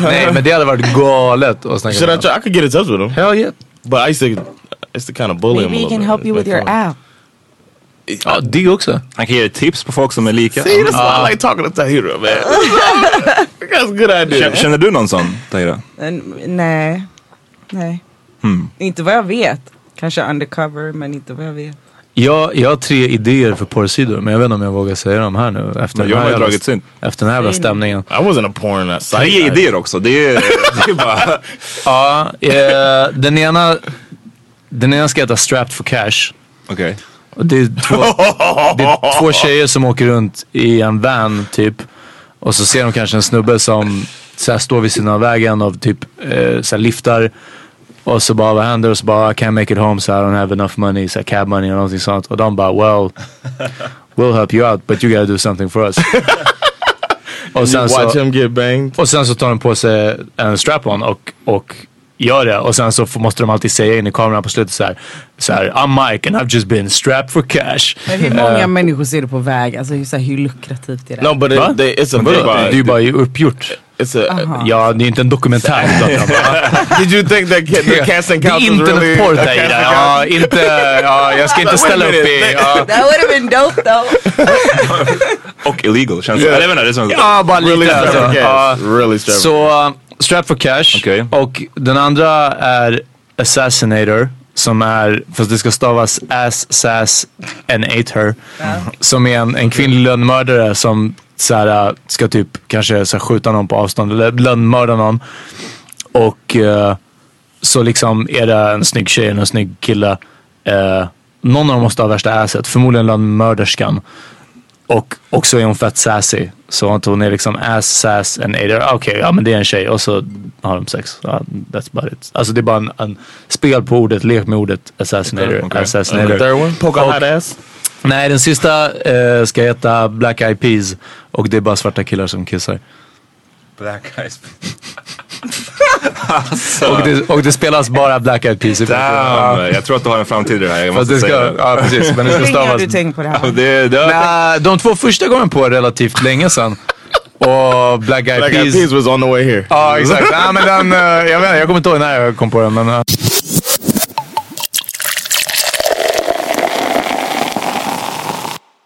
Speaker 1: Nej, men det hade varit galet att snacka
Speaker 4: Should I
Speaker 1: med
Speaker 4: try? I could get in touch with him,
Speaker 1: Hell yeah.
Speaker 4: but I used to. It's the kind of bully him.
Speaker 2: Maybe
Speaker 4: a little
Speaker 2: he can
Speaker 4: bit.
Speaker 2: help you
Speaker 4: It's
Speaker 2: with your
Speaker 4: not fun.
Speaker 2: app.
Speaker 1: Ja, det också.
Speaker 3: Han kan ge dig tips på folk som är lika.
Speaker 4: See, that's
Speaker 2: Uh,
Speaker 4: why I like talking to Tahira, man. that's a good idea.
Speaker 3: Känner, känner du någon sån Tahira?
Speaker 2: En- Nej. Nej. Inte vad jag vet. Kanske undercover men inte vad jag vet.
Speaker 1: Jag, jag har tre idéer för porrsidor, men jag vet inte om jag vågar säga dem här nu. Efter
Speaker 3: Men jag
Speaker 1: den här
Speaker 3: har ju
Speaker 1: jävla-
Speaker 3: dragit synd.
Speaker 1: Efter den här jävla stämningen.
Speaker 4: I wasn't a porn uh, site.
Speaker 3: Tre idéer också, det är, det är bara...
Speaker 1: Ja, eh, den ena... Den ena ska heta Strapped for Cash.
Speaker 3: Okej.
Speaker 1: Och det, är två, det är två tjejer som åker runt i en van typ. Och så ser de kanske en snubbe som så här, står vid sidan av vägen och typ eh, så här, liftar. Och så bara, vad händer? Och så bara, I can't make it home, so I don't have enough money, så här, cab money eller någonting sånt. Och de bara, well, we'll help you out, but you gotta do something for us. och, sen
Speaker 4: You watch
Speaker 1: så,
Speaker 4: him get banged.
Speaker 1: och sen så tar de på sig en strap-on och, och gör det. Och sen så får, måste de alltid säga in i kameran på slutet så här, så här, I'm Mike and I've just been strapped for cash.
Speaker 2: Men hur många människor ser du på väg? Alltså hur, så här, hur lukrativt är det?
Speaker 4: No, but
Speaker 1: Huh?
Speaker 4: it, they, it's a
Speaker 1: Eh, Men Det är ju bara, det är ju
Speaker 4: video.
Speaker 1: bara uppgjort.
Speaker 4: It's a.
Speaker 2: Uh-huh.
Speaker 1: Ja, det är inte en dokumentär. vi pratar om, va?
Speaker 4: Did you think that ca- the casting
Speaker 1: Det är
Speaker 4: couch was really?
Speaker 1: internetporr Tahira. Ja, inte, ja, jag ska inte ställa upp i... Ja,
Speaker 2: That would have been dope though.
Speaker 3: Och illegal känns det.
Speaker 4: Yeah.
Speaker 3: Eller jag menar, det känns...
Speaker 1: ja bara
Speaker 4: Really
Speaker 1: lite alltså.
Speaker 4: extravagant.
Speaker 1: Ja.
Speaker 4: Really extravagant.
Speaker 1: Så, uh, Strap for Cash.
Speaker 3: Okej.
Speaker 1: Och den andra är Assassinator. Som är, fast det ska stavas ass, sass and ater. Som är en, en kvinnlig lönnmördare som så här, uh, ska typ kanske så här, skjuta någon på avstånd eller lönnmörda någon. äh, Och eh, så liksom är det en snygg tjej och en snygg kille eh, Någon av dem måste ha värsta asset. Förmodligen landmörderskan. Och också är hon fett sassy. Så att hon är liksom ass, sass and aider. Okej, ja men det är en tjej. Och så har de sex. Ja, that's about it. Alltså det är bara en, en spel på ordet, lek med ordet assassinator.
Speaker 3: Okej, okej.
Speaker 1: assassinator.
Speaker 4: The third one, poke a
Speaker 1: Och-
Speaker 4: hot ass.
Speaker 1: Nej, den sista eh, ska heta Black Eyed Peas. Och det är bara svarta killar som kissar.
Speaker 3: Black eyes.
Speaker 1: Och det, och det spelas bara Black Eyed Peas. i verkligheten.
Speaker 3: Damn! Jag tror att du har en framtid i det här. Jag
Speaker 1: Fast
Speaker 3: måste
Speaker 1: det ska,
Speaker 3: säga det.
Speaker 1: ja precis, men det
Speaker 2: Hur
Speaker 1: ska
Speaker 2: länge har
Speaker 1: stavas.
Speaker 2: du tänkt på det här?
Speaker 3: Det, det,
Speaker 1: Nja, de två första kom jag på relativt länge sedan. Och Black Eyed
Speaker 4: Like
Speaker 1: Peas.
Speaker 4: peas was on the way here.
Speaker 1: Ja, exakt. Nej, men den, eh, jag, vet, inte, jag kommer inte ihåg när jag kom på den. Men, eh.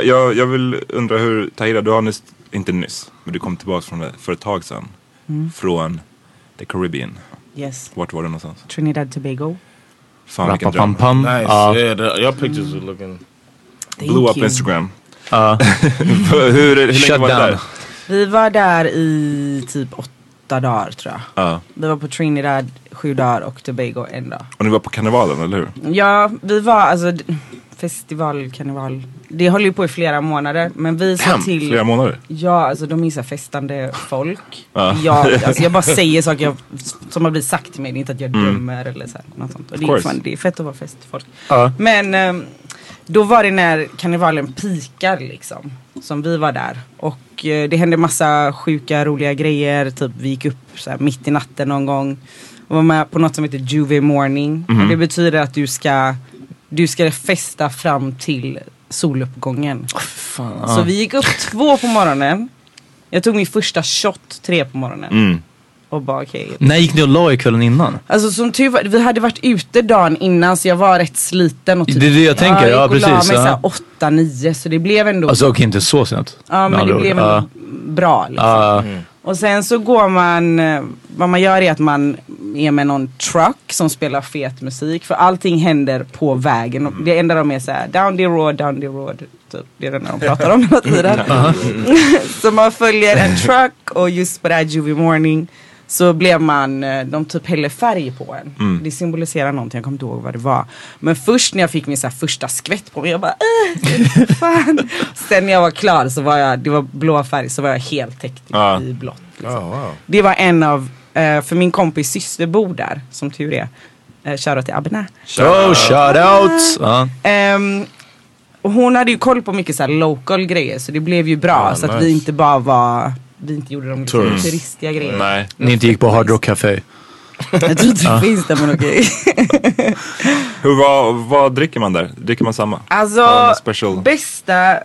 Speaker 3: Jag, jag vill undra hur, Tahira, du har nyss, inte nyss, men du kom tillbaka från det för ett tag sedan.
Speaker 2: Mm.
Speaker 3: Från the Caribbean.
Speaker 2: Yes.
Speaker 3: Vart var du någonstans?
Speaker 2: Trinidad Tobago.
Speaker 3: Fan vilken dröm.
Speaker 1: Rappapampam.
Speaker 4: Nice.
Speaker 1: Ja.
Speaker 4: Yeah, the, your pictures are looking.
Speaker 2: Thank
Speaker 3: Blew up
Speaker 2: you.
Speaker 3: Instagram. hur, hur länge
Speaker 1: Shut
Speaker 3: var du
Speaker 1: down.
Speaker 3: där?
Speaker 2: Vi var där i typ åtta dagar tror jag.
Speaker 3: Ja.
Speaker 2: Vi var på Trinidad sju dagar och Tobago en dag.
Speaker 3: Och ni var på karnevalen, eller hur?
Speaker 2: Ja, vi var alltså d- festival, karneval. Det höll ju på i flera månader men vi sa
Speaker 3: Damn,
Speaker 2: till
Speaker 3: flera månader.
Speaker 2: Ja, alltså de är så här festande folk.
Speaker 3: Ja.
Speaker 2: Jag, alltså, jag bara säger saker jag, som har blivit sagt till mig, det är inte att jag dömer eller så här, något sånt. Och det, är
Speaker 3: Mm. course.
Speaker 2: fan, det är fett att vara festfolk.
Speaker 1: Ja.
Speaker 2: Men ehm, då var det när karnevalen pikar liksom, som vi var där. Och eh, det hände massa sjuka, roliga grejer. Typ vi gick upp så här, mitt i natten någon gång och var med på något som heter Juve morning.
Speaker 3: Mhm.
Speaker 2: Och det betyder att du ska, du ska festa fram till soluppgången. Så vi gick upp två på morgonen. Jag tog min första shot tre på morgonen.
Speaker 3: Mm.
Speaker 2: Och bara okej.
Speaker 1: När gick ni och la er kvällen innan?
Speaker 2: Alltså som tur var, vi hade varit ute dagen innan så jag var rätt sliten. Och typ-
Speaker 1: Det är det jag tänker, ja,
Speaker 2: Jag gick och la mig
Speaker 1: precis, ja.
Speaker 2: såhär åtta, nio så det blev ändå,
Speaker 1: Alltså okej, inte så sent.
Speaker 2: ja,
Speaker 1: Med
Speaker 2: men det
Speaker 1: andra ord.
Speaker 2: blev ändå
Speaker 1: Ja. Mm,
Speaker 2: bra. Liksom.
Speaker 1: Ja.
Speaker 2: Och sen så går man, eh, vad man gör är att man är med någon truck som spelar fet musik. För allting händer på vägen. Och Det enda de är såhär, down the road, down the road. Typ. Det är det enda de pratar om hela tiden. så man följer en truck och just på det här Juvie Morning så blev man, eh, de typ häller färg på en. Det symboliserar någonting, jag kommer inte ihåg vad det var. Men först när jag fick min så här första skvätt på mig, jag bara äh, fan. Sen när jag var klar så var jag, det var blå färg, så var jag helt täckt i-
Speaker 3: Ja.
Speaker 2: i blått. Liksom.
Speaker 4: Oh wow.
Speaker 2: Det var en av, eh, för min kompis syster bor där, som tur är. Eh, Shoutout till Abna.
Speaker 1: Oh, shout out! Ja.
Speaker 2: Ehm, och hon hade ju koll på mycket så här local grejer så det blev ju bra
Speaker 4: Ah,
Speaker 2: så att
Speaker 4: nice.
Speaker 2: vi inte bara var vi inte gjorde de liksom
Speaker 4: Tourists.
Speaker 2: turistiga grejerna.
Speaker 3: Nej.
Speaker 1: Ni inte gick på Hard Rock Café.
Speaker 2: Jag tror inte det finns där men okej.
Speaker 3: Hur, vad, vad dricker man där? Dricker man samma? Ja,
Speaker 2: Alltså
Speaker 3: något special.
Speaker 2: bästa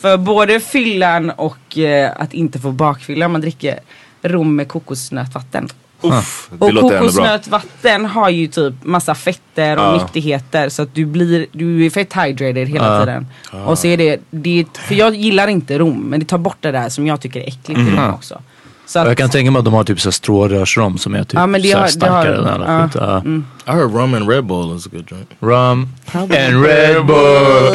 Speaker 2: för både fyllan och eh, att inte få bakfylla man dricker rom med kokosnötvatten.
Speaker 3: Uff, det
Speaker 2: Och
Speaker 3: låter ändå bra.
Speaker 2: kokosnötvatten har ju typ massa fetter och
Speaker 3: Ja.
Speaker 2: nyttigheter så att du blir, du är fett hydrated hela tiden. Och så är det, det är, för jag gillar inte rom men det tar bort det där som jag tycker är äckligt i
Speaker 3: Mm.
Speaker 2: rom också. Så
Speaker 1: Jag
Speaker 2: att,
Speaker 1: kan tänka mig att de har typ så här strårörsrom som är typ
Speaker 2: Ja, men det
Speaker 1: så här
Speaker 2: har- det
Speaker 1: starkare
Speaker 2: har-
Speaker 1: än alla
Speaker 2: ja. Mm.
Speaker 1: skit. Ja.
Speaker 4: I heard rum and Red Bull is a good drink.
Speaker 1: Rum and Red Bull.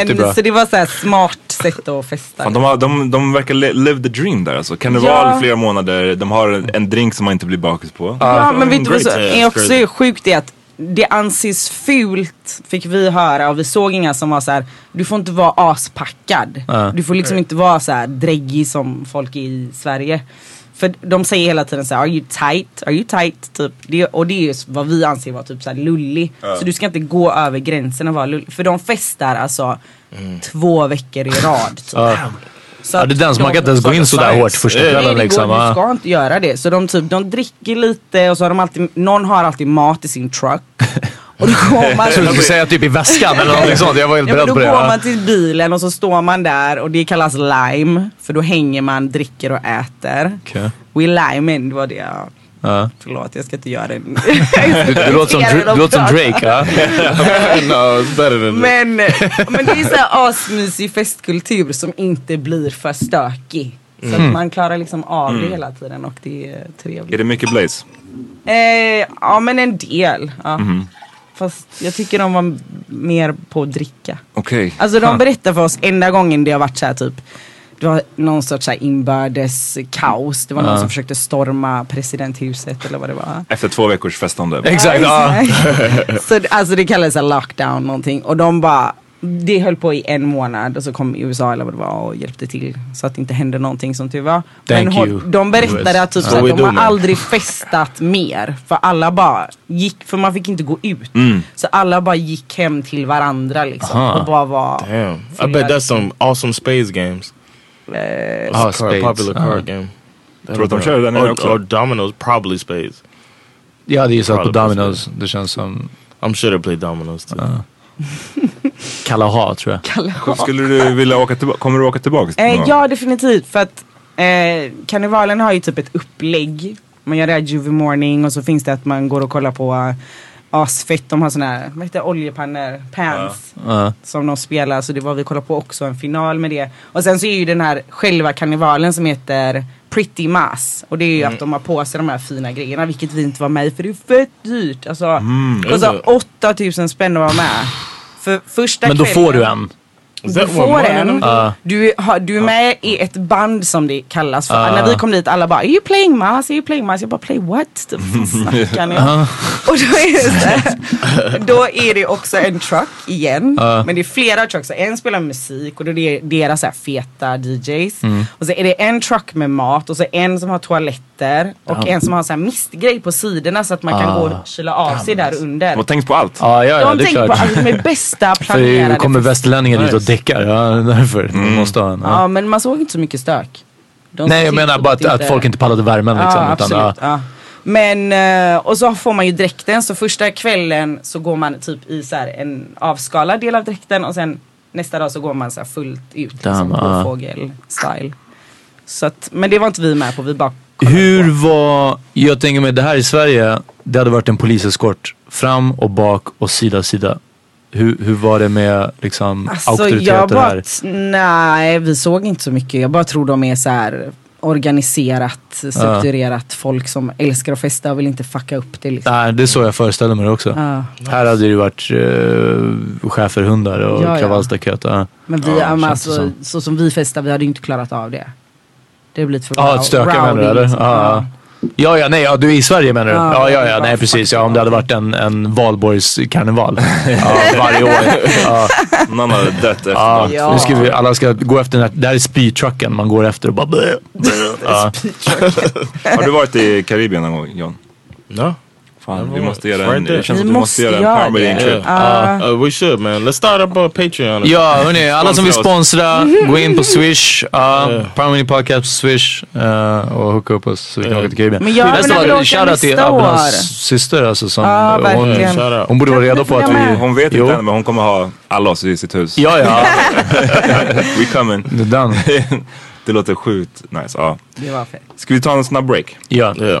Speaker 1: alltid bra.
Speaker 2: men, så det var så här smart sätt att festa.
Speaker 3: Fan, de, har, de, de verkar le, live the dream där alltså. Karneval
Speaker 2: Ja.
Speaker 3: flera månader, de har en, en drink som man inte blir bakis på.
Speaker 2: Ja men vet du vad
Speaker 3: Great.
Speaker 2: som är också
Speaker 4: crazy.
Speaker 2: är sjukt är att det anses fult fick vi höra och vi såg inga som var så här. du får inte vara aspackad. Du får liksom inte vara så här dräggig som folk i Sverige. För de säger hela tiden så här, are you tight? Are you tight? Typ. Det, och det är ju vad vi anser vara typ så här lullig. Så du ska inte gå över gränsen och vara lullig. För de festar alltså två veckor i rad. Typ. Så
Speaker 1: Mm. Ja,
Speaker 2: att
Speaker 1: det är den som man
Speaker 2: de-
Speaker 1: kan inte ens gå in sådär
Speaker 4: science.
Speaker 1: hårt första
Speaker 4: Nej, det
Speaker 1: kvällen
Speaker 2: Eh, Nej, det
Speaker 1: liksom.
Speaker 2: går,
Speaker 1: va?
Speaker 2: du ska inte göra det. Så de, typ, de dricker lite och så har de alltid, någon har alltid mat i sin truck. Och då går man,
Speaker 1: Jag trodde du skulle säga typ i väskan eller någonting sånt. Jag var helt
Speaker 2: ja, men
Speaker 1: beredd
Speaker 2: då
Speaker 1: på det.
Speaker 2: går
Speaker 1: ja.
Speaker 2: man till bilen och så står man där och det kallas lime. För då hänger man, dricker och äter.
Speaker 1: Okej.
Speaker 2: We lime in, det var det jag...
Speaker 1: Ja.
Speaker 2: Förlåt, jag ska inte göra det.
Speaker 1: Du, du, låter som, Dra- du låter som Drake. Ja?
Speaker 4: no, it's better than that.
Speaker 2: Men, men det är så här asmysig festkultur som inte blir för stökig. Så
Speaker 1: Mm.
Speaker 2: att man klarar liksom av det hela tiden och det är trevligt.
Speaker 3: Är det mycket blaze?
Speaker 2: Eh, ja men en del. Ja. Fast jag tycker de var m- mer på att dricka.
Speaker 3: Okej.
Speaker 2: Alltså de berättar för oss enda gången det har varit så här typ det var någon sorts så här inbördes kaos. Det var någon som försökte storma presidenthuset eller vad det var.
Speaker 3: Efter två veckors festande.
Speaker 1: Exakt. Ja.
Speaker 2: Exakt. så det- alltså det kallades en lockdown någonting och de bara det höll på i en månad och så kom USA eller vad det var och hjälpte till så att det inte hände någonting som tur var.
Speaker 1: Thank
Speaker 2: hon-
Speaker 1: you,
Speaker 2: de berättade
Speaker 1: US.
Speaker 2: att, typ,
Speaker 4: Ja.
Speaker 2: så
Speaker 4: So
Speaker 2: att
Speaker 4: we
Speaker 2: de
Speaker 4: do,
Speaker 2: har
Speaker 4: man.
Speaker 2: aldrig festat mer för alla bara gick, för man fick inte gå ut. Så alla bara gick hem till varandra liksom
Speaker 1: Mm. Aha.
Speaker 2: och bara var
Speaker 4: Damn. I
Speaker 2: fyllda.
Speaker 4: bet that's some awesome spades games. Oh, Uh-huh.
Speaker 2: Eh,
Speaker 1: Ah,
Speaker 4: Card-
Speaker 1: spades.
Speaker 4: Popular
Speaker 1: Ah.
Speaker 4: card game.
Speaker 3: Tror att de kör den här
Speaker 4: or,
Speaker 3: också?
Speaker 4: or dominoes, probably spades.
Speaker 1: Jag hade gissat på
Speaker 4: Probably
Speaker 1: Domino's. Det känns som
Speaker 4: I'm sure they play dominoes too.
Speaker 1: Kalaha tror jag.
Speaker 3: Skulle du vilja åka tillbaka? Kommer du åka tillbaka?
Speaker 2: Eh, ja, definitivt. För att eh, karnevalen har ju typ ett upplägg. Man gör det här juvie morning och så finns det att man går och kollar på eh, asfett. De har såna här, vad heter det, oljepannor? Pans.
Speaker 1: Ja.
Speaker 2: Som de spelar. Så det var vi kollade på också en final med det. Och sen så är ju den här själva karnevalen som heter Pretty Mass. Och det är ju
Speaker 1: Mm.
Speaker 2: att de har på sig de här fina grejerna. Vilket vi inte var med i för det är fett dyrt. Alltså,
Speaker 1: Mm,
Speaker 2: och så
Speaker 4: Är det?
Speaker 2: 8000 spänn att vara med. För första
Speaker 1: Men då får du
Speaker 2: kvällen-
Speaker 1: en.
Speaker 4: Is
Speaker 2: du
Speaker 4: that what
Speaker 2: får
Speaker 4: mine
Speaker 2: en.
Speaker 4: enemy-
Speaker 1: Ah.
Speaker 2: Du, har, du är med i ett band som det kallas för.
Speaker 1: Ah.
Speaker 2: När vi kom dit alla bara, are you playing mass? Are you playing mass? Jag bara, play what? Typ, vad snackar ni om?
Speaker 1: Ah.
Speaker 2: Och då är, det, så här, då är det också en truck igen.
Speaker 1: Ah.
Speaker 2: Men det är flera trucks. Så En spelar musik och då är det deras så här feta DJs.
Speaker 1: Mm.
Speaker 2: Och så är det en truck med mat och så en som har toaletter. Och en som har så här mistgrej på sidorna så att man
Speaker 1: Ah.
Speaker 2: kan gå och kyla av sig där
Speaker 1: alltså.
Speaker 2: under.
Speaker 3: Och tänk på allt.
Speaker 1: Ja, ja, ja
Speaker 2: De
Speaker 1: det är
Speaker 2: tänker på
Speaker 1: klart.
Speaker 2: att de är bästa
Speaker 1: För
Speaker 2: planerade
Speaker 1: det kommer västerlänningar dit och
Speaker 4: Nice.
Speaker 1: däckar. Ja, därför. De måste ha en.
Speaker 2: Mm. Ja
Speaker 1: Ja.
Speaker 2: men man såg inte så mycket stök. De
Speaker 1: Nej, jag
Speaker 2: såg
Speaker 1: menar
Speaker 2: till
Speaker 1: bara att, att folk inte pallade värmen
Speaker 2: Ja
Speaker 1: liksom. utan,
Speaker 2: absolut.
Speaker 1: ja.
Speaker 2: ja. Men eh, och så får man ju dräkten så första kvällen så går man typ i så här en avskalad del av dräkten och sen nästa dag så går man så här fullt ut. Liksom,
Speaker 1: Damn, ja.
Speaker 2: fågel style. Så att, men det var inte vi med på, vi bara kollade
Speaker 1: Hur
Speaker 2: på.
Speaker 1: var, jag tänker mig det här i Sverige, det hade varit en poliseskort fram och bak och sida sida. Hur, hur var det med liksom
Speaker 2: Alltså jag
Speaker 1: auktoriteter
Speaker 2: bara,
Speaker 1: här?
Speaker 2: t- nej vi såg inte så mycket. Jag bara tror de är så här organiserat, strukturerat folk som älskar att festa och vill inte fucka upp det liksom.
Speaker 1: Nej, det är så jag föreställer mig det också.
Speaker 2: Ja.
Speaker 1: Här hade det ju varit uh, schäferhundar och
Speaker 2: Ja, ja.
Speaker 1: kravallstaket. Ja,
Speaker 2: Men vi,
Speaker 3: Ja,
Speaker 2: ja, men
Speaker 1: känns
Speaker 2: alltså,
Speaker 1: det
Speaker 2: så.
Speaker 1: som.
Speaker 2: som vi festar, vi hade ju inte klarat av det. Det har blivit för
Speaker 1: ah,
Speaker 2: rou-
Speaker 1: ett stöke menar
Speaker 2: rowdy,
Speaker 1: du eller?
Speaker 2: liksom.
Speaker 1: Ja, ja. ja, ja, nej, ja, du är i Sverige menar du?
Speaker 2: Ja,
Speaker 1: Ja, ja,
Speaker 2: det
Speaker 1: ja,
Speaker 2: var
Speaker 1: nej precis. Ja, om det hade varit en, en valborgskarneval ja, varje år. Ja.
Speaker 3: Någon hade dött efter
Speaker 1: Ja,
Speaker 3: något.
Speaker 2: Ja.
Speaker 1: Nu ska vi, alla ska gå efter den här, det här är spytrucken man går efter och bara bleh, bleh. ja.
Speaker 3: Har du varit i Karibien någon gång John?
Speaker 4: No.
Speaker 3: Fan,
Speaker 4: Jag
Speaker 3: vi
Speaker 4: var-
Speaker 3: måste göra
Speaker 4: var
Speaker 3: en,
Speaker 4: inte-
Speaker 3: det känns
Speaker 2: Vi
Speaker 3: att vi måste
Speaker 2: måste
Speaker 3: göra en
Speaker 2: göra
Speaker 3: permanent
Speaker 4: Yeah.
Speaker 3: trip.
Speaker 4: Uh, we should, man. Let's start up a Patreon.
Speaker 1: ja, hörni, alla som vill
Speaker 3: Sponsra
Speaker 1: sponsra, gå in på Swish, ja, Primary Podcast på Swish eh, och hooka upp oss så vi kan
Speaker 4: Ja.
Speaker 1: åka till Karibien.
Speaker 2: Men jag
Speaker 1: Det är nästan
Speaker 2: vill
Speaker 1: bara
Speaker 2: åka
Speaker 1: shoutout till
Speaker 2: nästa år.
Speaker 1: Abelans syster alltså som,
Speaker 2: Ja,
Speaker 1: hon,
Speaker 2: verkligen.
Speaker 4: Shout out.
Speaker 1: hon borde vara
Speaker 2: Kan
Speaker 1: redo
Speaker 2: du
Speaker 1: på att
Speaker 2: följa
Speaker 1: vi...
Speaker 2: med?
Speaker 3: Hon vet
Speaker 1: Jo.
Speaker 3: inte än men hon kommer ha alla oss i sitt hus.
Speaker 1: Ja, ja,
Speaker 3: We coming.
Speaker 1: det är den.
Speaker 3: det låter sjukt nice. Ja.
Speaker 2: Det var fett.
Speaker 3: Ska vi ta en snabb break?
Speaker 1: Ja.
Speaker 4: Yeah.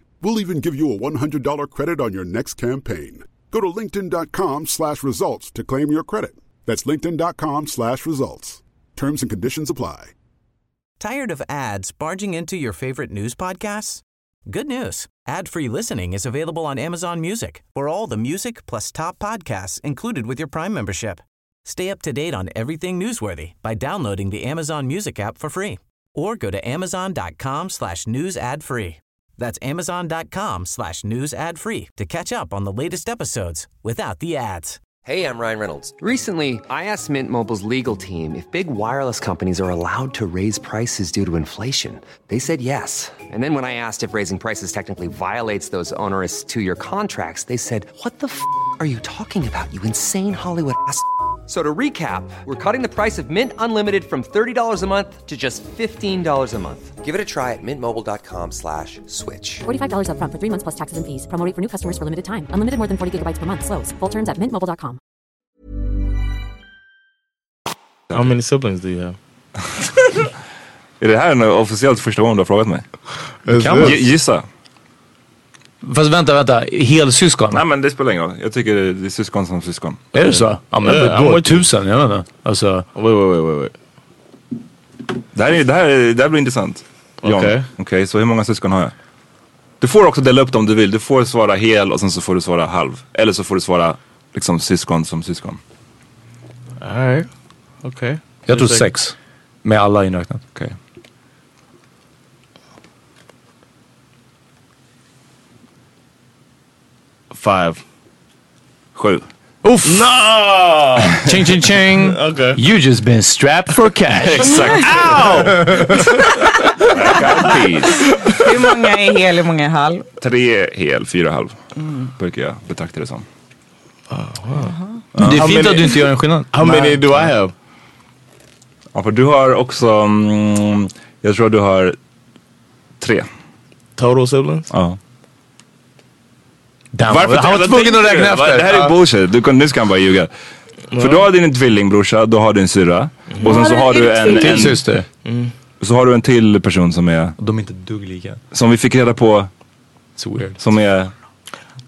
Speaker 5: We'll even give you a $100 credit on your next campaign. Go to linkedin.com slash results to claim your credit. That's linkedin.com slash results. Terms and conditions apply.
Speaker 6: Tired of ads barging into your favorite news podcasts? Good news. Ad-free listening is available on Amazon Music. For all the music plus top podcasts included with your Prime membership. Stay up to date on everything newsworthy by downloading the Amazon Music app for free or go to amazon.com slash news ad free. That's amazon.com slash news ad free to catch up on the latest episodes without the ads.
Speaker 7: Hey, I'm Ryan Reynolds. Recently, I asked Mint Mobile's legal team if big wireless companies are allowed to raise prices due to inflation. They said yes. And then when I asked if raising prices technically violates those onerous two year contracts, they said, What the f are you talking about, you insane Hollywood ass? f- So to recap, we're cutting the price of Mint Unlimited from $30 a month to just $15 a month. Give it a try at mintmobile.com slash switch.
Speaker 8: $45 up front for three months plus taxes and fees. Promo rate for new customers for limited time. Unlimited more than 40 gigabytes per month. Slows. Full terms at mintmobile.com.
Speaker 4: How many siblings do you have?
Speaker 3: Är det här en officiellt första gången du har frågat mig?
Speaker 1: Kan man?
Speaker 3: Gi- Gissa.
Speaker 1: Fast vänta, vänta. Helsyskon?
Speaker 3: Nej men det spelar ingen roll. Jag tycker det är syskon som syskon.
Speaker 1: Är det så? Ja men
Speaker 4: Ja,
Speaker 1: yeah,
Speaker 4: han var
Speaker 1: då
Speaker 4: ju-
Speaker 1: tusen, jag vet inte. Alltså,
Speaker 4: Wait, wait, wait, wait, wait.
Speaker 3: Det här, är, det här, är, det här blir intressant. John.
Speaker 4: Okej.
Speaker 3: Okej, så hur många syskon har jag? Du får också dela upp dem om du vill. Du får svara hel och sen så får du svara halv. Eller så får du svara liksom syskon som syskon.
Speaker 4: All right. Okay.
Speaker 1: jag tror sex. Med alla inräknat.
Speaker 3: Okej.
Speaker 4: Five.
Speaker 3: Sju.
Speaker 1: Uff!
Speaker 4: No!
Speaker 1: Ching ching ching!
Speaker 4: Okay.
Speaker 1: You just been strapped for cash.
Speaker 3: Exakt. Ow!
Speaker 2: Hur många är hel, hur många är halv?
Speaker 3: Tre hel, fyra halv. Brukar jag betrakta det som.
Speaker 1: Det är
Speaker 4: How
Speaker 1: fint
Speaker 4: many-
Speaker 1: att du inte gör en skillnad.
Speaker 4: How many do I have?
Speaker 3: Ja, för du har också, mm, jag tror du har tre.
Speaker 4: Total siblings?
Speaker 3: Ja.
Speaker 1: Damn,
Speaker 3: Varför
Speaker 1: han var
Speaker 3: tävlar-
Speaker 1: tvungen att
Speaker 3: tänkte
Speaker 1: räkna
Speaker 3: du?
Speaker 1: efter.
Speaker 3: Det här är bullshit. Du kan, nu ska han bara ljuga. För då har du din tvillingbrorsa, då har du en syrra.
Speaker 1: Mm.
Speaker 3: Och sen så har du en,
Speaker 1: Till
Speaker 3: en,
Speaker 1: syster.
Speaker 3: så har du en till person som är,
Speaker 1: De är inte dugg lika.
Speaker 3: som vi fick reda på,
Speaker 1: It's weird.
Speaker 3: som är,
Speaker 4: I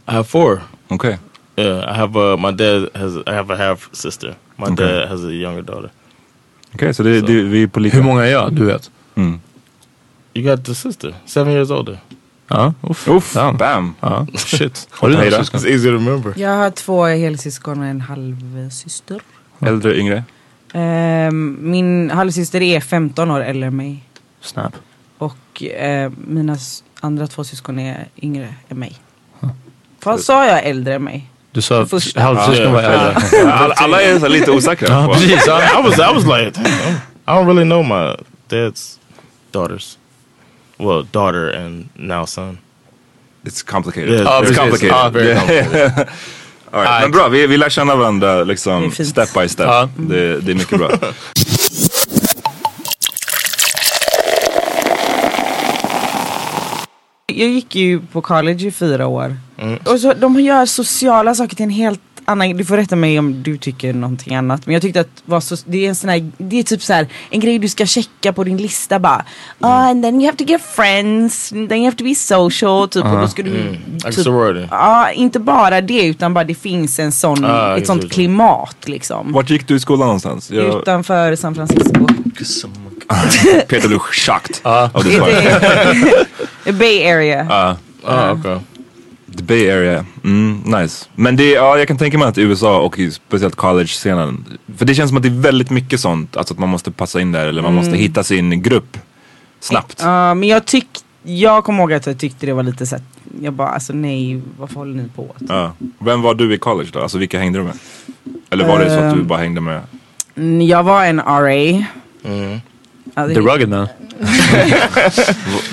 Speaker 4: have four.
Speaker 3: okej.
Speaker 4: Yeah, I have uh, my dad has I have a half sister. My
Speaker 3: Okay.
Speaker 4: dad has a younger daughter.
Speaker 3: Okej, så, det, det, vi är på lika.
Speaker 1: Hur många är jag? Du vet?
Speaker 4: You got the sister, seven years older.
Speaker 1: Ja, uff.
Speaker 3: Uff,
Speaker 1: Damn.
Speaker 3: bam.
Speaker 1: Ja, shit. Har du
Speaker 3: Hej då.
Speaker 1: några syskon?
Speaker 4: It's easy to remember.
Speaker 2: Jag har två helsyskon och en halvsyster.
Speaker 3: Äldre, yngre.
Speaker 2: Ehm, min halvsyster är 15 år äldre än mig.
Speaker 1: Snap.
Speaker 2: Och eh, mina s- andra två syskon är yngre än mig. Vad sa jag äldre än mig?
Speaker 1: Du sa
Speaker 2: Första.
Speaker 1: halvsyskon var äldre.
Speaker 3: Alla, alla är så lite osäkra.
Speaker 1: Ja,
Speaker 3: på.
Speaker 1: precis. Ja.
Speaker 4: I was I was like, "Damn, I don't really know my dad's daughters. Well, daughter and now son.
Speaker 3: It's complicated.
Speaker 4: Yeah,
Speaker 1: Ja,
Speaker 4: it's
Speaker 1: precis.
Speaker 3: complicated.
Speaker 1: Ja,
Speaker 4: very complicated.
Speaker 3: All right. Men bra, vi, vi lär känna varandra
Speaker 2: Det är
Speaker 3: liksom
Speaker 2: fint.
Speaker 3: step by step.
Speaker 1: Ja.
Speaker 3: Det, det är mycket bra.
Speaker 2: Jag gick ju på college i fyra år.
Speaker 4: Mm.
Speaker 2: Och så, de gör sociala saker till en helt annan Du får rätta mig om du tycker någonting annat. Men jag tyckte att vad so, det är en sån här, det är typ så här, en grej du ska checka på din lista bara.
Speaker 4: Mm.
Speaker 2: "Ah, and then you have to get friends, and then you have to be social. Typ, och då ska du
Speaker 4: Like
Speaker 2: typ,
Speaker 4: sorority.
Speaker 2: Ja, inte bara det utan bara det finns en sån,
Speaker 4: Ah,
Speaker 2: ett
Speaker 4: just
Speaker 2: sånt
Speaker 4: det.
Speaker 2: klimat liksom.
Speaker 3: Mm. Vart gick du i skolan någonstans? Jag,
Speaker 2: Utanför San Francisco.
Speaker 3: Peter blev chockad av
Speaker 2: Det
Speaker 3: ditt svar.
Speaker 2: är- Bay Area.
Speaker 4: Oh, okay.
Speaker 3: The Bay Area, mm, nice. Men det, ja, jag kan tänka mig att i USA och i speciellt college-scenen, för det känns som att det är väldigt mycket sånt, alltså att man måste passa in där eller man måste hitta sin grupp snabbt.
Speaker 2: Mm. Ja, Eh, men jag tyckte, jag kommer ihåg att jag tyckte det var lite såhär, jag bara alltså nej, varför håller ni på?
Speaker 3: Ja. Vem var du i college då? Alltså vilka hängde du med? Eller var det så
Speaker 2: Ehm.
Speaker 3: att du bara hängde med?
Speaker 2: Mm, Jag var en RA.
Speaker 1: The
Speaker 2: Alltså,
Speaker 1: rugged man.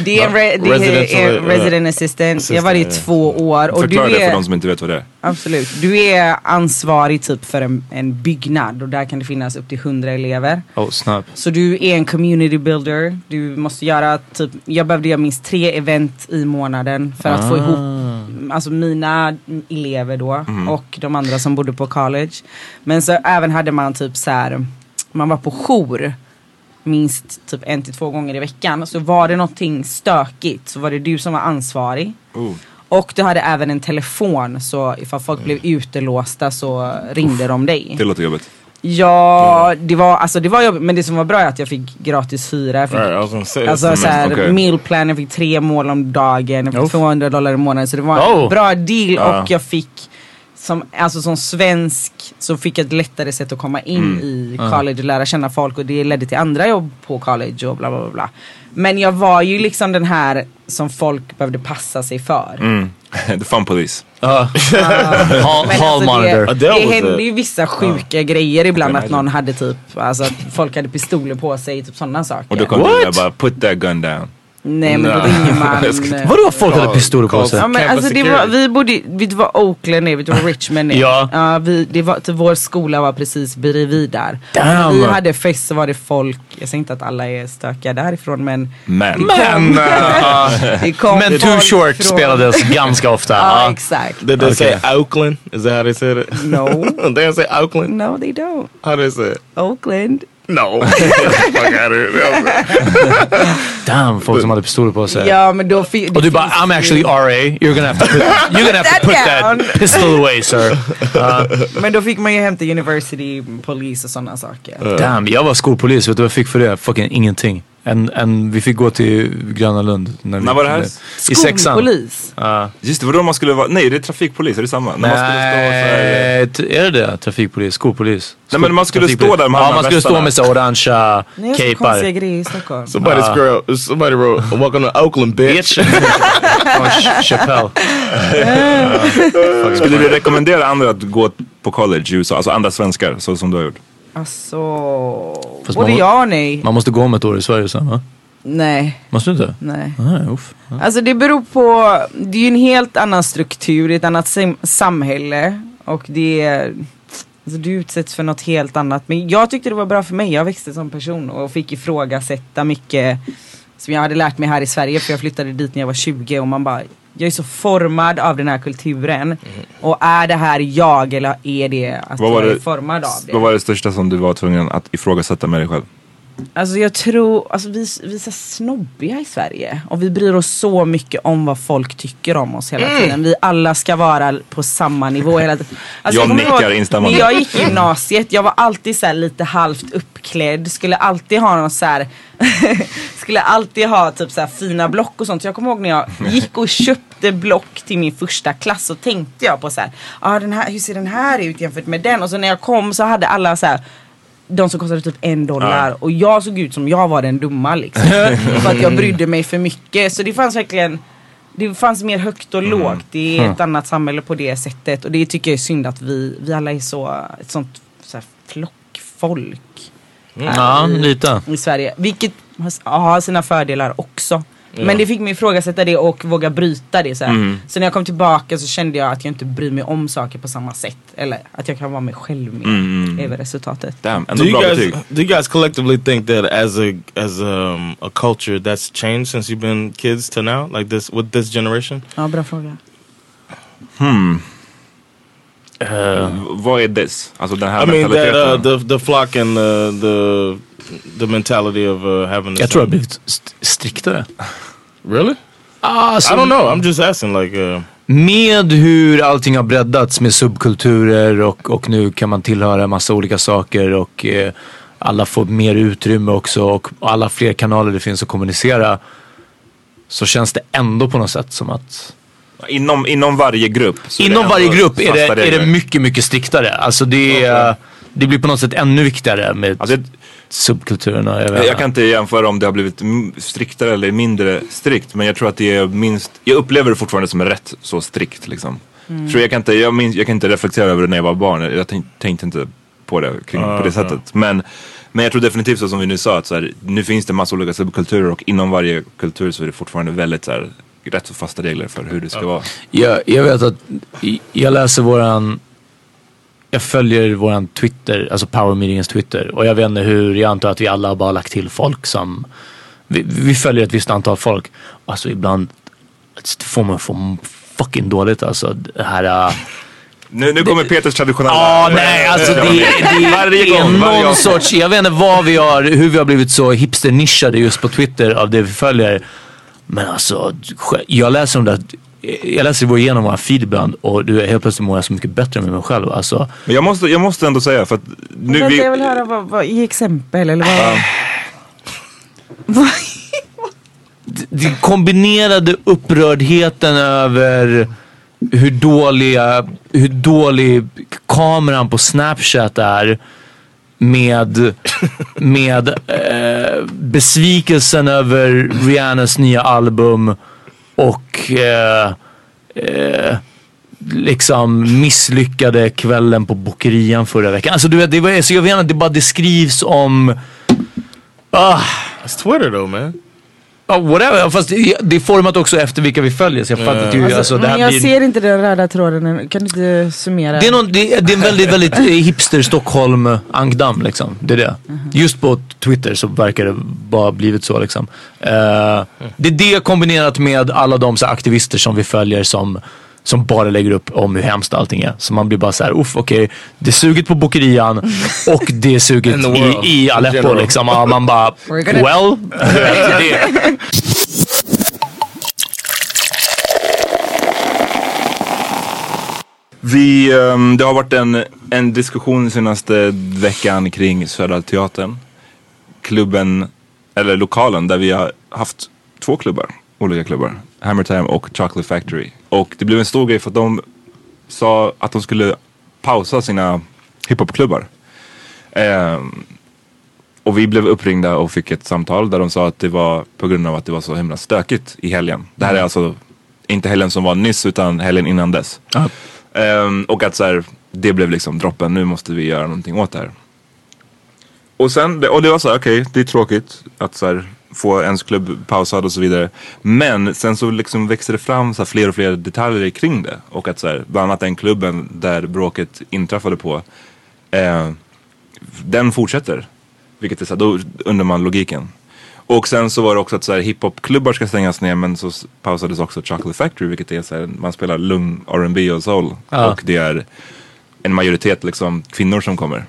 Speaker 2: det är en re, det
Speaker 4: Resident-
Speaker 2: är en
Speaker 4: eh,
Speaker 2: resident assistant. Jag var det i
Speaker 4: assistant,
Speaker 2: två år. Och
Speaker 3: Förklara
Speaker 2: du
Speaker 3: det för
Speaker 2: är,
Speaker 3: de som inte vet vad det är.
Speaker 2: absolut, du är ansvarig typ för en, en byggnad och där kan det finnas upp till 100 elever.
Speaker 1: Oh, snap.
Speaker 2: Så du är en community builder. Du måste göra typ, jag behövde göra minst tre event i månaden för att få ihop mm, alltså mina elever då och de andra som bodde på college. Men så även hade man typ så här, man var på jour minst typ en till två gånger i veckan. Så var det någonting stökigt så var det du som var ansvarig.
Speaker 3: Oh.
Speaker 2: Och du hade även en telefon så ifall folk blev utelåsta så ringde de dig.
Speaker 3: Det låter jobbigt.
Speaker 2: Ja, det var, alltså, det var jobbigt. Men det som var bra är att jag fick gratis hyra. Jag fick,
Speaker 4: Right, I was gonna say. that's
Speaker 2: Alltså
Speaker 4: the
Speaker 2: såhär,
Speaker 4: mess.
Speaker 3: okej.
Speaker 2: meal plan, jag fick tre mål om dagen, jag fick
Speaker 1: Uff.
Speaker 2: 200 dollar i månaden. Så det var en
Speaker 1: Oh.
Speaker 2: bra deal
Speaker 3: Ja.
Speaker 2: och jag fick som, alltså som svensk så fick jag ett lättare sätt att komma in i college och lära känna folk och det ledde till andra jobb på college och bla bla bla. bla. Men jag var ju liksom den här som folk behövde passa sig för.
Speaker 3: The fun police.
Speaker 1: Ah. Hall,
Speaker 2: Men
Speaker 1: hall
Speaker 2: alltså
Speaker 1: monitor.
Speaker 2: Det,
Speaker 4: Adele
Speaker 2: det
Speaker 4: was
Speaker 2: hände
Speaker 4: a-
Speaker 2: ju vissa sjuka grejer ibland att någon hade typ, alltså att folk hade pistoler på sig, typ sådana saker.
Speaker 3: Och då kom du där bara put that gun down.
Speaker 2: Nej men då
Speaker 3: Nah.
Speaker 2: ringer man. eh,
Speaker 3: Jag ska-
Speaker 1: Vadå folk hade pistoler på sig?
Speaker 2: Ja, men
Speaker 4: Campus
Speaker 2: alltså det var,
Speaker 4: security.
Speaker 2: vi bodde, vi det var Oakland det, det var Richmond det.
Speaker 1: Ja.
Speaker 2: vi, det var, typ, vår skola var precis bredvid där.
Speaker 1: Damn.
Speaker 2: Vi hade fest så var det folk, jag säger inte att alla är stökiga därifrån men
Speaker 3: Men.
Speaker 1: Men, eh,
Speaker 2: det kom
Speaker 1: men
Speaker 2: folk
Speaker 1: Too Short
Speaker 2: från-
Speaker 1: spelades ganska ofta. Ah,
Speaker 2: Ja
Speaker 1: ja.
Speaker 2: exakt.
Speaker 4: Did they say
Speaker 1: Okay.
Speaker 4: Oakland? Is that how they said it?
Speaker 2: No.
Speaker 4: they didn't say Oakland.
Speaker 2: No they don't.
Speaker 4: How they say it?
Speaker 2: Oakland.
Speaker 4: No. Fuck out of here.
Speaker 1: Damn, folk som hade pistoler på sig.
Speaker 2: Ja men då fick
Speaker 1: Och du bara, I'm actually RA, you're gonna have to put, you're gonna have to put that pistol away sir. Ah. Ja.
Speaker 2: Men då fick man ju hämta university police och sådana saker.
Speaker 1: Damn, jag var skolpolis. Vet du vad jag fick för det? Fucking ingenting. En, en, vi fick gå till Gröna Lund. vi-
Speaker 3: När var det här?
Speaker 1: I sexan.
Speaker 2: Skolpolis.
Speaker 3: Just det, vadå man skulle vara, nej det är trafikpolis, är det samma? När man skulle stå så här, eh,
Speaker 1: Nej, t- är det det? Trafikpolis? Skolpolis?
Speaker 3: Nej, men man skulle
Speaker 1: Trafikpolis.
Speaker 3: stå där med
Speaker 1: Ja,
Speaker 3: alla
Speaker 1: man skulle stå
Speaker 3: västarna.
Speaker 1: med så här orangea
Speaker 2: Ni har så
Speaker 1: capar.
Speaker 2: konstiga grejer i Stockholm.
Speaker 4: Somebody scroll, somebody wrote, welcome to Oakland, bitch.
Speaker 1: Bitch! Från Ch- Chappelle.
Speaker 3: skulle du rekommendera andra att gå på college i USA? Alltså andra svenskar, så som du har gjort?
Speaker 2: Alltså,
Speaker 1: Fast
Speaker 2: både
Speaker 1: man-
Speaker 2: ja och nej.
Speaker 1: Man måste gå om ett år i Sverige sen va?
Speaker 2: Nej,
Speaker 1: Måste du inte?
Speaker 2: nej.
Speaker 1: Nej, uff.
Speaker 2: Alltså det beror på, det är ju en helt annan struktur, det är ett annat sam- samhälle och det är, alltså du utsätts för något helt annat. Men jag tyckte det var bra för mig, jag växte som person och fick ifrågasätta mycket som jag hade lärt mig här i Sverige för jag flyttade dit när jag var 20 och man bara, jag är så formad av den här kulturen och är det här jag eller är det att
Speaker 3: Mm. Vad var
Speaker 2: jag är
Speaker 3: det-
Speaker 2: formad av det?
Speaker 3: Vad var det största som du var tvungen att ifrågasätta med dig själv?
Speaker 2: Alltså jag tror, alltså vi, vi är så snobbiga i Sverige och vi bryr oss så mycket om vad folk tycker om oss hela
Speaker 3: Mm.
Speaker 2: tiden. Vi alla ska vara på samma nivå hela tiden. Alltså
Speaker 3: Jag
Speaker 2: kommer
Speaker 3: nickar
Speaker 2: ihåg
Speaker 3: instämmande.
Speaker 2: När jag gick i gymnasiet, jag var alltid så här lite halvt uppklädd, skulle alltid ha någon så här skulle alltid ha typ så här fina block och sånt. Så jag kommer ihåg när jag gick och köpte block till min första klass så tänkte jag på så här, ah, den här, hur ser den här ut jämfört med den? Och så när jag kom så hade alla så här de som kostade typ en dollar och jag såg ut som jag var den dumma liksom. för att jag brydde mig för mycket. Så det fanns verkligen det fanns mer högt och lågt. Det är ett annat samhälle på det sättet. Och det tycker jag är synd att vi, vi alla är så, ett sånt så här, flockfolk
Speaker 3: Mm.
Speaker 1: Ja, lite.
Speaker 2: i Sverige. Vilket har- har sina fördelar också. Men det fick mig ifrågasätta det och våga bryta det. Så, här. så när jag kom tillbaka så kände jag att jag inte bryr mig om saker på samma sätt. Eller att jag kan vara mig själv mer. Det är väl resultatet.
Speaker 3: Damn, ändå
Speaker 4: Do you
Speaker 3: bra
Speaker 4: guys
Speaker 3: betyg.
Speaker 4: do you guys collectively think that as a as um, a culture that's changed since you've been kids to now, like this with this generation?
Speaker 2: Ja, bra fråga.
Speaker 3: V- Vad är this? Alltså den här
Speaker 4: I mean that uh,
Speaker 3: mentaliteten?
Speaker 4: the the flock and uh, the the mentality of uh, having. the
Speaker 1: Jag tror jag har
Speaker 4: same-
Speaker 1: blivit st- striktare. Ah,
Speaker 4: really. I don't know. I'm just asking. Like, uh,
Speaker 1: Med hur allting har breddats med subkulturer och, och nu kan man tillhöra en massa olika saker och eh, alla får mer utrymme också och alla fler kanaler det finns att kommunicera. Så känns det ändå på något sätt som att
Speaker 3: inom, inom varje grupp? så är det
Speaker 1: inom varje
Speaker 3: ändå
Speaker 1: grupp är
Speaker 3: fasta
Speaker 1: det, är det
Speaker 3: regler.
Speaker 1: mycket, mycket striktare. Alltså det, är, eh, det blir på något sätt ännu viktigare med
Speaker 3: Alltså, jag-
Speaker 1: subkulturerna. Jag vet.
Speaker 3: Jag kan inte jämföra om det har blivit m- striktare eller mindre strikt men jag tror att det är minst, jag upplever det fortfarande som rätt så strikt liksom. Tror jag, kan inte, jag, minns, jag kan inte reflektera över det när jag var barn, jag tänk, tänkte inte på det kring, på det sättet. Men, men jag tror definitivt så som vi nu sa att så här, nu finns det massa olika subkulturer och inom varje kultur så är det fortfarande väldigt så här, rätt så fasta regler för hur det ska vara.
Speaker 1: Jag, jag vet att i- jag läser våran... Jag följer våran Twitter, alltså Power Meetings Twitter. Och jag vet inte hur, jag antar att vi alla har bara lagt till folk som... Vi, vi följer ett visst antal folk. Alltså ibland får man få fucking dåligt alltså. Det här... äh,
Speaker 3: Nu, nu kommer Peters traditionella...
Speaker 1: Ja, nej, alltså det, det,
Speaker 3: Varje
Speaker 1: det är
Speaker 3: gång, varje
Speaker 1: någon
Speaker 3: gång.
Speaker 1: sorts, jag vet inte vad vi har, hur vi har blivit så hipsternischade just på Twitter av det vi följer. Men alltså, sj- jag läser om det, att- jag läser vår igenom våra feed ibland och du, helt plötsligt mår jag så mycket bättre med mig själv. Alltså,
Speaker 3: Men jag måste, jag måste ändå säga för att nu...
Speaker 2: Vänta,
Speaker 3: vi-
Speaker 2: jag vill höra vad, vad, i exempel eller vad?
Speaker 1: det kombinerade upprördheten över hur, dåliga, hur dålig kameran på Snapchat är med, med eh, besvikelsen över Rihannas nya album och eh, eh, liksom misslyckade kvällen på bokerian förra veckan. Alltså du vet, det var, så jag vet inte, det bara det skrivs om ah,
Speaker 4: It's Twitter though man.
Speaker 1: Ja, whatever. Fast det- det är format också efter vilka vi följer. Så jag fattar ju.
Speaker 2: Alltså,
Speaker 1: Alltså, det, här
Speaker 2: men jag
Speaker 1: blir,
Speaker 2: ser inte den röda tråden. än. Kan du inte summera?
Speaker 1: det, är någon, det, är- det är en väldigt, väldigt eh, hipster Stockholm ankdam liksom. Det är det.
Speaker 2: Mm-hmm.
Speaker 1: Just på Twitter så verkar det bara blivit så liksom. Eh, Det är det kombinerat med alla de så här, aktivister som vi följer som som bara lägger upp om hur hemskt allting är. Så man blir bara så här, uff okej, det är suget på Bokerian och det är suget
Speaker 4: In the world,
Speaker 1: i, i
Speaker 4: in
Speaker 1: Aleppo
Speaker 4: general.
Speaker 1: liksom. Ja, man bara,
Speaker 2: We're gonna-
Speaker 1: well, det är det.
Speaker 3: Vi, ehm, det har varit en, en diskussion senaste veckan kring Södra Teatern. Klubben, eller lokalen där vi har haft två klubbar, olika klubbar. Hammer Time och Chocolate Factory. Och det blev en stor grej för att de sa att de skulle pausa sina hiphopklubbar. Ehm, och vi blev uppringda och fick ett samtal där de sa att det var på grund av att det var så himla stökigt i helgen. Det här är alltså inte helgen som var nyss utan helgen innan dess. Ehm, och att så här, det blev liksom droppen, nu måste vi göra någonting åt det här. Och, sen, och det var så här, okej det är tråkigt att så här, få ens klubb pausad och så vidare. Men sen så liksom växte det fram så här, fler och fler detaljer kring det. Och att så här, bland annat den klubben där bråket inträffade på, eh, den fortsätter. Vilket är så här, då undrar man logiken. Och sen så var det också att så här, hiphopklubbar ska stängas ner men så s- pausades också Chocolate Factory vilket är så här, man spelar lugn R&B och soul.
Speaker 1: Ja.
Speaker 3: Och det är en majoritet liksom kvinnor som kommer.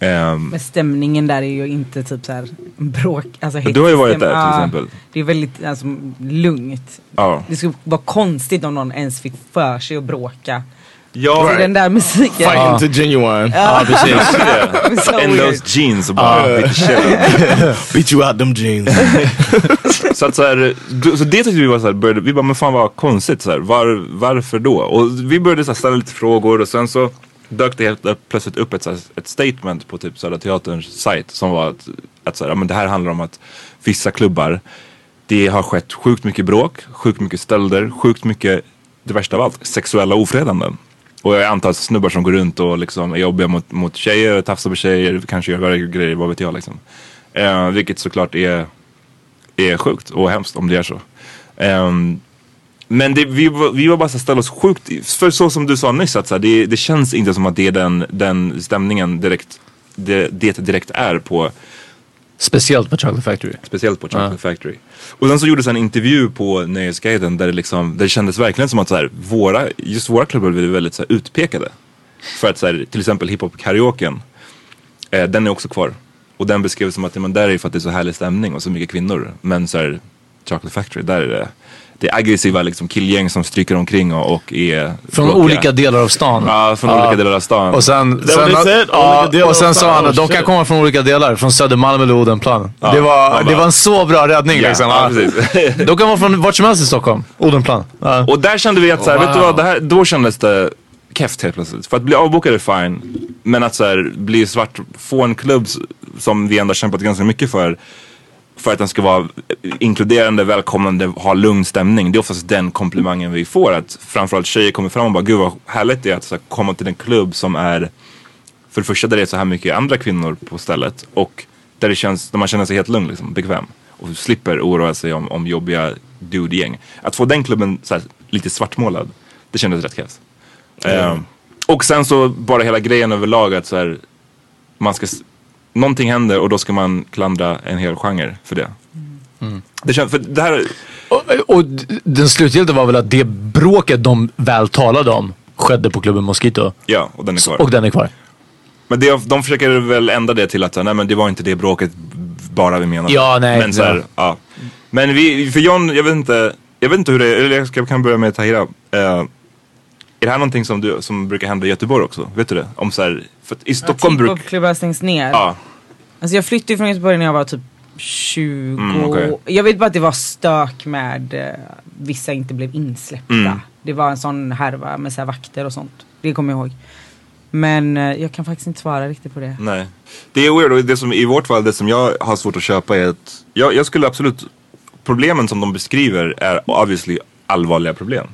Speaker 3: Ehm,
Speaker 2: Men stämningen där är ju inte typ såhär bråk, alltså hetsstäm-
Speaker 3: du har ju varit där till
Speaker 2: Ja,
Speaker 3: exempel.
Speaker 2: Det är väldigt alltså, lugnt.
Speaker 3: Ja.
Speaker 2: Det skulle vara konstigt om någon ens fick för sig att bråka.
Speaker 3: Ja,
Speaker 2: Så den där musiken.
Speaker 4: Fighting to genuine.
Speaker 1: Ja, precis.
Speaker 2: so
Speaker 3: And
Speaker 2: weird.
Speaker 3: those jeans och bara beat the shit out.
Speaker 4: Beat you out them jeans.
Speaker 3: så, att så, här, du- så det tyckte vi var så här, började, vi bara men fan vad konstigt så här, var, varför då? Och vi började så här, ställa lite frågor och sen så dök det helt upp, plötsligt upp ett, så här, ett statement på typ Södra Teaterns sajt som var att, att så här, ja, men det här handlar om att vissa klubbar, det har skett sjukt mycket bråk, sjukt mycket stölder, sjukt mycket, det värsta av allt, sexuella ofredanden. Och jag antar att snubbar som går runt och liksom är jobbiga mot, mot tjejer, tafsar på tjejer, kanske gör värre grejer, vad vet jag liksom. Eh, vilket såklart är är sjukt och hemskt om det är så. Ehm, men det, vi, var- vi var bara så här, ställa oss sjukt, i- för så som du sa nyss att så här, det, det känns inte som att det är den, den stämningen direkt, det, det direkt är på,
Speaker 1: Speciellt på Chocolate Factory.
Speaker 3: speciellt på Chocolate Factory. Och sen så gjordes en intervju på Nöjesguiden där det, liksom, där det kändes verkligen som att så här, våra, just våra klubbar blev väldigt så här, utpekade. För att så här, till exempel hiphop-karaoken, eh, den är också kvar. Och den beskrevs som att ja, men där är det för att det är så härlig stämning och så mycket kvinnor. Men så här, Chocolate Factory, där är det, det är aggressiva liksom, killgäng som stryker omkring och, och är
Speaker 1: Från
Speaker 3: bråkiga.
Speaker 1: olika delar av stan.
Speaker 3: Ja, från olika delar av stan.
Speaker 1: Och sen,
Speaker 4: That
Speaker 1: sen,
Speaker 4: what they said?
Speaker 1: ja,
Speaker 4: Olika delar
Speaker 1: och sen
Speaker 4: av
Speaker 1: sa
Speaker 4: stan.
Speaker 1: han att
Speaker 4: Oh,
Speaker 1: de kan
Speaker 4: shit.
Speaker 1: komma från olika delar. Från Södermalm eller Odenplan. det, var,
Speaker 3: ja,
Speaker 1: det
Speaker 3: men-
Speaker 1: var en så bra räddning
Speaker 3: Ja,
Speaker 1: liksom.
Speaker 3: ja, precis.
Speaker 1: de kan vara från vart som helst i Stockholm. Odenplan. Ja.
Speaker 3: Och där kände vi att så här,
Speaker 4: Wow.
Speaker 3: vet du vad, det här, då kändes det keft helt plötsligt. För att bli avbokad är fine, men att så här, bli svart, få en klubb s- som vi ändå har kämpat ganska mycket för, för att den ska vara inkluderande, välkomnande, ha lugn stämning. Det är oftast den komplimangen vi får. Att framförallt tjejer kommer fram och bara, gud vad härligt det är att så här, komma till en klubb som är, för det första där det är så här mycket andra kvinnor på stället och där, det känns, där man känner sig helt lugn, liksom, bekväm och slipper oroa sig om, om jobbiga dude-gäng. Att få den klubben så här, lite svartmålad, det kändes rätt krävs. Ehm, och sen så bara hela grejen överlag att så här, man ska, s- någonting händer och då ska man klandra en hel genre för det. Det känns, för det här,
Speaker 1: Och, och d- den slutgiltiga var väl att det bråket de väl talade om skedde på klubben Mosquito.
Speaker 3: ja, och den är kvar.
Speaker 1: Och den är kvar.
Speaker 3: Men det, de försöker väl ändra det till att så här, nej men det var inte det bråket bara vi menade.
Speaker 1: Ja, nej,
Speaker 3: Men, så här,
Speaker 1: ja.
Speaker 3: ja. men vi, för John, jag vet inte, jag vet inte hur det är, eller jag ska- jag kan börja med Tahira. Eh, är det här någonting som, du, som brukar hända i Göteborg också? Vet du det?
Speaker 2: typ
Speaker 3: Om så här, för att i Stockholm brukar...
Speaker 2: Hiphopklubbar stängs ner.
Speaker 3: Ja,
Speaker 2: Alltså jag flyttade ju från Göteborg när jag var typ 20.
Speaker 3: Mm, okej.
Speaker 2: Jag vet bara att det var stök med eh, vissa inte blev insläppta.
Speaker 3: Mm.
Speaker 2: Det var en sån härva med så här vakter och sånt. Det kommer jag ihåg. Men eh, jag kan faktiskt inte svara riktigt på det.
Speaker 3: Nej. Det är weird och det som, i vårt fall, det som jag har svårt att köpa är att jag, jag skulle absolut, problemen som de beskriver är obviously allvarliga problem.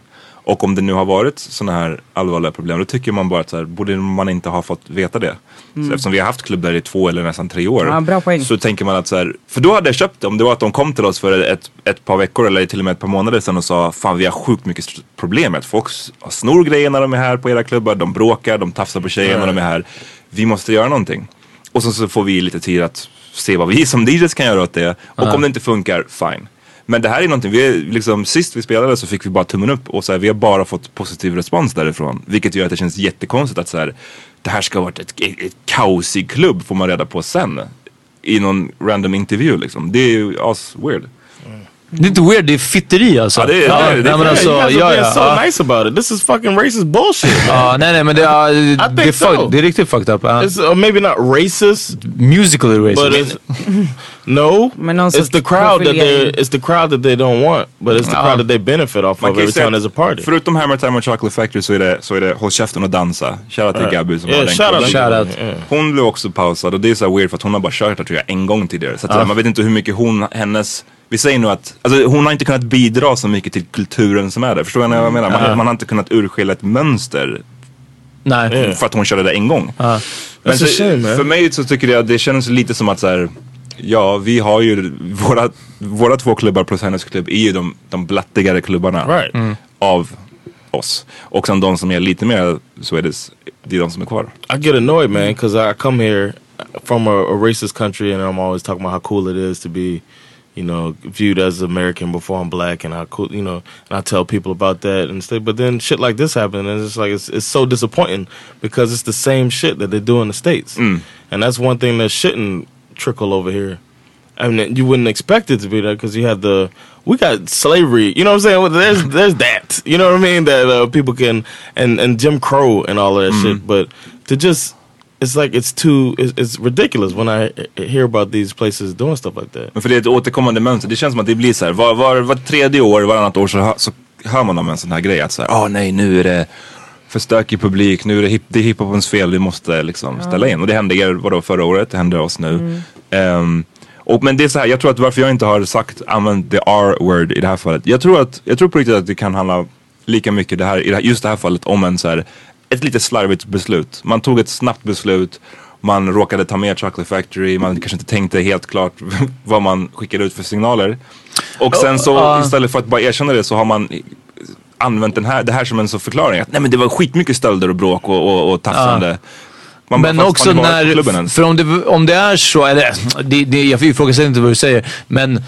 Speaker 3: Och om det nu har varit sådana här allvarliga problem då tycker man bara att så här, borde man inte ha fått veta det. Så eftersom vi har haft klubb där i två eller nästan tre år.
Speaker 2: Mm. Ja, bra poäng.
Speaker 3: Så tänker man att så här, för då hade jag köpt det om det var att de kom till oss för ett, ett par veckor eller till och med ett par månader sedan och sa fan vi har sjukt mycket st- problem med att folk s- snor grejer när de är här på era klubbar, de bråkar, de tafsar på tjejer när de är här. Vi måste göra någonting. Och sen så får vi lite tid att se vad vi som DJs kan göra åt det och om det inte funkar, fine. Men det här är någonting, vi är, liksom, sist vi spelade så fick vi bara tummen upp och så här, vi har bara fått positiv respons därifrån. Vilket gör att det känns jättekonstigt att så här, det här ska ha varit ett, ett, ett kaosig klubb får man reda på sen. I någon random intervju liksom. Det är ju as weird.
Speaker 1: Det är inte weird, det är fitteri alltså.
Speaker 3: Ja, det är- det är- det är-
Speaker 1: nej, men alltså,
Speaker 3: you
Speaker 1: ja,
Speaker 3: guys
Speaker 1: ja,
Speaker 4: being so
Speaker 1: ja.
Speaker 4: nice about it. This is fucking racist bullshit.
Speaker 1: ja, nej, nej, men det, ja, det,
Speaker 4: think
Speaker 1: det, är
Speaker 4: so.
Speaker 1: fuck, det är riktigt fucked up. ja.
Speaker 4: It's uh, maybe not racist,
Speaker 1: Musically
Speaker 4: but
Speaker 1: racist.
Speaker 4: it's no.
Speaker 2: Men någon
Speaker 4: It's
Speaker 2: sorts
Speaker 4: the crowd that they
Speaker 2: profilering.
Speaker 4: it's the crowd that they don't want, but it's the
Speaker 1: Ja.
Speaker 4: crowd that they benefit off
Speaker 3: Man
Speaker 4: of
Speaker 3: kan ju
Speaker 4: every
Speaker 3: säga
Speaker 4: time
Speaker 3: att
Speaker 4: there's a party.
Speaker 3: Förutom Hammer Time och Chocolate Factory så är det, så är det Håll käften och dansa. Shoutout till Gabby som
Speaker 4: Yeah,
Speaker 3: har den
Speaker 4: shout out
Speaker 3: klubben.
Speaker 4: to
Speaker 1: Shout out.
Speaker 4: them, yeah.
Speaker 3: Hon blev också pausad och det är så här weird för att hon har bara kört där tror jag en gång tidigare. Så att så här, man vet inte hur mycket hon, hennes, vi säger nu att, alltså hon har inte kunnat bidra så mycket till kulturen som är där. Förstår ni vad jag menar? Man, man har inte kunnat urskilja ett mönster
Speaker 1: nej.
Speaker 3: för att hon körde det en gång.
Speaker 1: Ja.
Speaker 3: Men
Speaker 4: That's a
Speaker 3: så,
Speaker 4: shame, man.
Speaker 3: för mig så tycker jag att det känns lite som att så här, ja vi har ju, våra, våra två klubbar plus hennes klubb är ju de, de blattigare klubbarna
Speaker 4: Right.
Speaker 3: av oss. Och sen de som är lite mer Swedish, det är de som är kvar.
Speaker 4: I get annoyed, man, because I come here from a, a racist country, and I'm always talking about how cool it is to be, you know, viewed as American before I'm black, and how cool, you know, and I tell people about that and stuff. But then shit like this happened, and it's like it's, it's so disappointing because it's the same shit that they do in the states, and that's one thing that shouldn't trickle over here. I mean, you wouldn't expect it to be there because you have the we got slavery. You know what I'm saying? Well, There's there's that. You know what I mean? That uh, people can and and Jim Crow and all of that shit. But to just it's like it's too it's, it's ridiculous when I uh, hear about these places doing stuff like that.
Speaker 3: Men för det är ett återkommande mönster. Det känns som att det blir så här, var, var, var tredje år, varannat år så, hö- så hör man om en sån här grej. Att så här, åh nej nu är det för stökig publik, nu är det, hip, det är hiphopens fel, vi måste liksom ställa in. Och det hände er, vadå, förra året, det hände oss nu. Ehm, och, men det är så här, jag tror att varför jag inte har sagt, använt the R-word i det här fallet. Jag tror, att, jag tror på riktigt att det kan handla lika mycket det här, i det här, just det här fallet om en så här, ett lite slarvigt beslut. Man tog ett snabbt beslut, man råkade ta med Chocolate Factory, man kanske inte tänkte helt klart vad man skickade ut för signaler. Och sen så istället för att bara erkänna det så har man i- använt den här, det här som en så förklaring. Att, nej men det var skitmycket stölder och bråk och, och, och tafsande. Man bara,
Speaker 1: Men
Speaker 3: fast
Speaker 1: också
Speaker 3: fan, ni var på klubben
Speaker 1: när,
Speaker 3: ens.
Speaker 1: för om det, om det är så, eller det, det, jag ifrågasätter inte vad du säger, men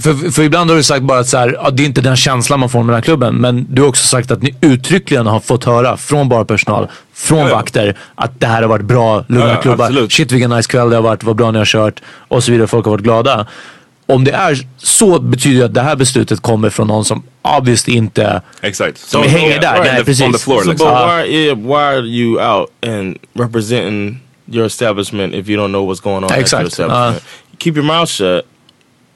Speaker 1: för, för ibland har du sagt bara att så här, ja, det är inte den känslan man får med den här klubben. Men du har också sagt att ni uttryckligen har fått höra från barpersonal, från
Speaker 3: Ja, ja.
Speaker 1: vakter, att det här har varit bra, lugna
Speaker 3: Ja, ja,
Speaker 1: klubbar.
Speaker 3: absolut.
Speaker 1: Shit vilken nice kväll det har varit, vad bra ni har kört och så vidare. Folk har varit glada. Om det är så betyder det att det här beslutet kommer från någon som obviously inte...
Speaker 3: Exakt.
Speaker 1: Som
Speaker 3: Så-
Speaker 1: hänger där,
Speaker 3: Right,
Speaker 1: nej,
Speaker 3: the-
Speaker 1: precis.
Speaker 3: On the floor
Speaker 1: Så
Speaker 4: So,
Speaker 3: liksom.
Speaker 4: but
Speaker 1: Uh,
Speaker 4: why yeah, why are you out and representing your establishment if you don't know what's going on at
Speaker 1: Exact.
Speaker 4: your establishment? Keep your mouth shut,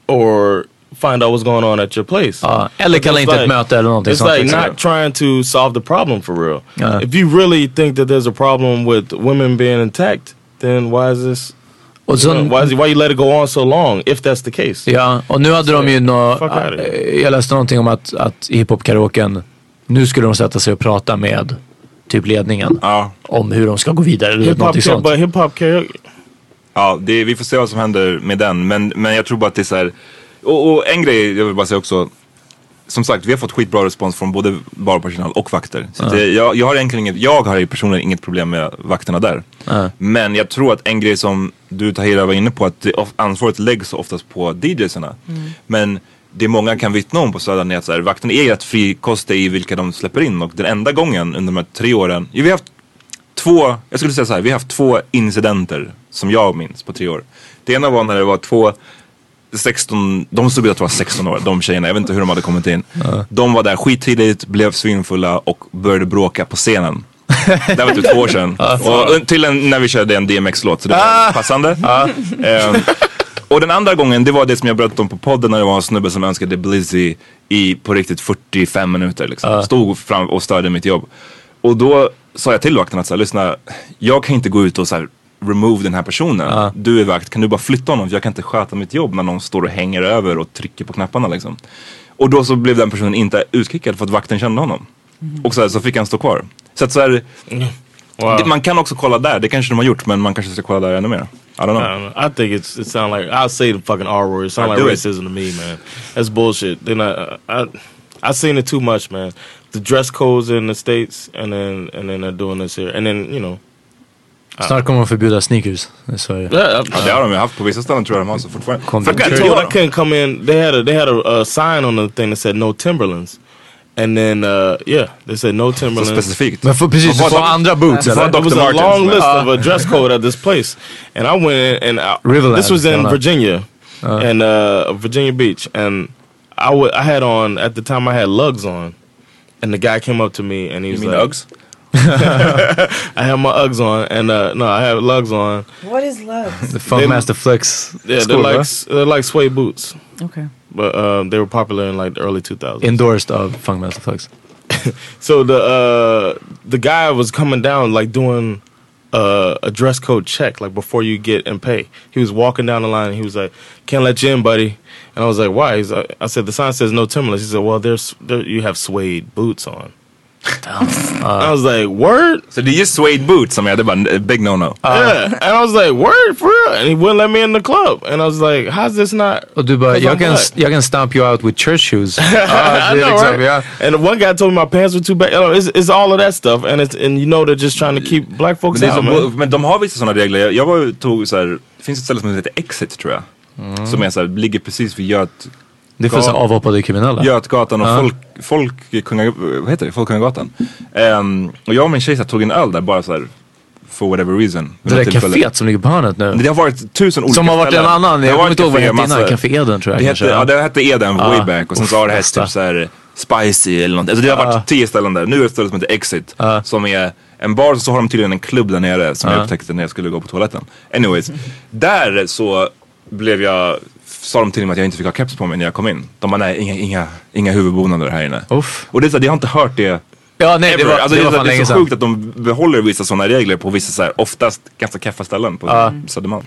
Speaker 4: or find out what's going on at your place.
Speaker 1: Ja, eller kalla
Speaker 4: It's
Speaker 1: inte ett möte eller någonting
Speaker 4: It's
Speaker 1: sånt,
Speaker 4: like
Speaker 1: liksom.
Speaker 4: not trying to solve the problem for real.
Speaker 1: Ja.
Speaker 4: If you really think that there's a problem with women being attacked, then why is this?
Speaker 1: Och
Speaker 4: you know, why is, why you let it go on so long? If that's the case,
Speaker 1: Ja, och nu hade de ju nå... Eh,
Speaker 4: Fuck out of here.
Speaker 1: Jag läste någonting om att, att i hiphop-karaoken, nu skulle de sätta sig och prata med typ ledningen
Speaker 3: Ja.
Speaker 1: om hur de ska gå vidare eller
Speaker 4: hip hop,
Speaker 1: någonting sånt.
Speaker 4: but hip hop karaoke.
Speaker 3: Ja, det, vi får se vad som händer med den. Men, men jag tror bara att det är så här. Och, och en grej jag vill bara säga också. Som sagt, vi har fått skitbra respons från både barpersonal och vakter. Så att det, jag, jag har egentligen inget, jag har ju personligen inget problem med vakterna där. Men jag tror att en grej som du Tahira var inne på, att det, of- ansvaret läggs oftast på DJsarna. Men det många kan vittna om på Södern är att så här, vakterna är rätt frikostiga i vilka de släpper in. Och den enda gången under de här tre åren, vi har haft två, jag skulle säga så här, vi har haft två incidenter som jag minns på tre år. Det ena var när det var två 16, de såg ut att vara 16 år, de tjejerna, jag vet inte hur de hade kommit in. De var där skittidigt, blev svinfulla och började bråka på scenen. Det här var typ två år eh, sedan. Och till en, när vi körde en DMX-låt, så det var passande. Ehm, Och den andra gången, det var det som jag berättade om på podden när det var en snubbe som önskade Blizzy i på riktigt 45 minuter. Liksom. Stod fram och störde mitt jobb. Och då sa jag till vakten att så här, lyssna, jag kan inte gå ut och så här, remove den här personen. Du är vakt, kan du bara flytta honom? För jag kan inte sköta mitt jobb när någon står och hänger över och trycker på knapparna. Liksom. Och då så blev den personen inte utkickad för att vakten kände honom. Och så, här, så fick han stå kvar. Så att så här,
Speaker 4: Wow.
Speaker 3: det, man kan också kolla där, det kanske de har gjort men man kanske ska kolla där ännu mer. I don't know.
Speaker 4: I, don't know. I think it's, it sounds like I'll say the fucking R word. It sounds
Speaker 3: I
Speaker 4: like
Speaker 3: do it.
Speaker 4: racism to me, man. That's bullshit. Then I, I, I I seen it too much, man. The dress codes in the states, and then and then they're doing this here, and then you know.
Speaker 1: Snart kommer de förbjuda sneakers i Sverige.
Speaker 4: Yeah,
Speaker 3: Ja, det har de ju haft på vissa ställen tror jag de har så fortfarande.
Speaker 1: Kom
Speaker 3: För att
Speaker 1: till
Speaker 3: jag
Speaker 4: Yo,
Speaker 3: tror
Speaker 4: I
Speaker 3: att-
Speaker 4: couldn't come in. They had a they had a, a sign on the thing that said no Timberlands, and then uh, yeah, they said no
Speaker 3: så
Speaker 4: Timberlands.
Speaker 3: specifikt.
Speaker 1: Men för, precis, du
Speaker 3: Vad
Speaker 1: får
Speaker 3: var-
Speaker 1: andra boots
Speaker 3: Vad
Speaker 1: eller?
Speaker 3: var
Speaker 4: It was
Speaker 3: Dr.
Speaker 4: a
Speaker 3: Martens, Uh.
Speaker 4: long
Speaker 3: men-
Speaker 4: list of a dress code at this place, and I went in and I,
Speaker 1: Riverland,
Speaker 4: this was in
Speaker 1: Carolina.
Speaker 4: Virginia, and uh, Virginia Beach, and I wa- I had on at the time I had lugs on, and the guy came up to me and he
Speaker 3: You
Speaker 4: was
Speaker 3: mean
Speaker 4: like,
Speaker 3: Uggs?
Speaker 4: I have my Uggs on, and uh, no, I have lugs on.
Speaker 2: What is love?
Speaker 1: The Funkmaster Flex.
Speaker 4: Yeah, they're
Speaker 1: skor,
Speaker 4: like
Speaker 1: va?
Speaker 4: s- they're like suede boots,
Speaker 2: okay.
Speaker 4: but um, they were popular in like the early 2000s.
Speaker 1: Endorsed av Funkmaster Flex.
Speaker 4: So the uh, the guy was coming down like doing uh, a dress code check like before you get and pay. He was walking down the line. And he was like, "Can't let you in, buddy." And I was like, "Why?" He's like, I said, "The sign says no Timberlands." He said, "Well, there's there, you have suede boots on." I was like, "Word."
Speaker 3: Så det är ju suede boots som jag, det är bara en eh, big no-no.
Speaker 1: Ah,
Speaker 4: yeah, and I was like, "Word for real," and he wouldn't let me in the club. And I was like, "How's this not?"
Speaker 1: Och du bara,
Speaker 4: Cause
Speaker 1: jag
Speaker 4: I'm
Speaker 1: kan,
Speaker 4: black."
Speaker 1: jag kan stomp you out with church shoes. Ja, det är liksom, ja.
Speaker 4: And the one guy told me my pants were too big. You know, It's, it's all of that stuff, and it's and you know they're just trying to keep black folks
Speaker 3: Men, det är
Speaker 4: out.
Speaker 3: så,
Speaker 4: man.
Speaker 3: men de har vissa sådana regler. Jag- Jag var ju- tog så här, det finns ett ställe som heter Exit tror jag.
Speaker 1: Mm.
Speaker 3: Som är så här, ligger precis vid Göt,
Speaker 1: Det är för
Speaker 3: Ja.
Speaker 1: så här avhoppade kriminella.
Speaker 3: Götgatan och
Speaker 1: Ja.
Speaker 3: folk, folk, kunga, vad heter det? Folkungagatan. Ehm, och jag och min tjej så här, tog en öl där bara så här, for whatever reason. Vid
Speaker 1: Det
Speaker 3: något
Speaker 1: där
Speaker 3: tillfälle.
Speaker 1: kaféet som ligger på hörnet
Speaker 3: Men Det
Speaker 1: nu.
Speaker 3: har varit tusen olika
Speaker 1: Som har varit en
Speaker 3: ställen.
Speaker 1: annan.
Speaker 3: Det har
Speaker 1: Jag kommer
Speaker 3: varit
Speaker 1: inte ihåg vad det
Speaker 3: kaféer,
Speaker 1: hette innan.
Speaker 3: massa-
Speaker 1: Café Eden tror jag
Speaker 3: Det hette,
Speaker 1: kanske.
Speaker 3: ja, det hette Eden way back och sen så har det hett
Speaker 1: bästa.
Speaker 3: typ såhär Spicy eller något. Alltså det har varit tio ställen där. Nu är det ett ställe som heter Exit. Som är en bar och så har de tydligen en klubb där nere som jag upptäckte när jag skulle gå på toaletten. Anyways, där så blev jag, sa de till mig att jag inte fick ha keps på mig när jag kom in. De bara nej, inga, inga, inga huvudbonader här inne.
Speaker 1: Uff.
Speaker 3: Och det är så här, jag har inte hört det
Speaker 1: Ja, nej, det
Speaker 3: Ever.
Speaker 1: var,
Speaker 3: alltså,
Speaker 1: det
Speaker 3: det,
Speaker 1: var fan
Speaker 3: är,
Speaker 1: länge
Speaker 3: så
Speaker 1: sedan.
Speaker 3: sjukt att de behåller vissa sådana regler på vissa så här, oftast ganska keffa ställen på Södermalm.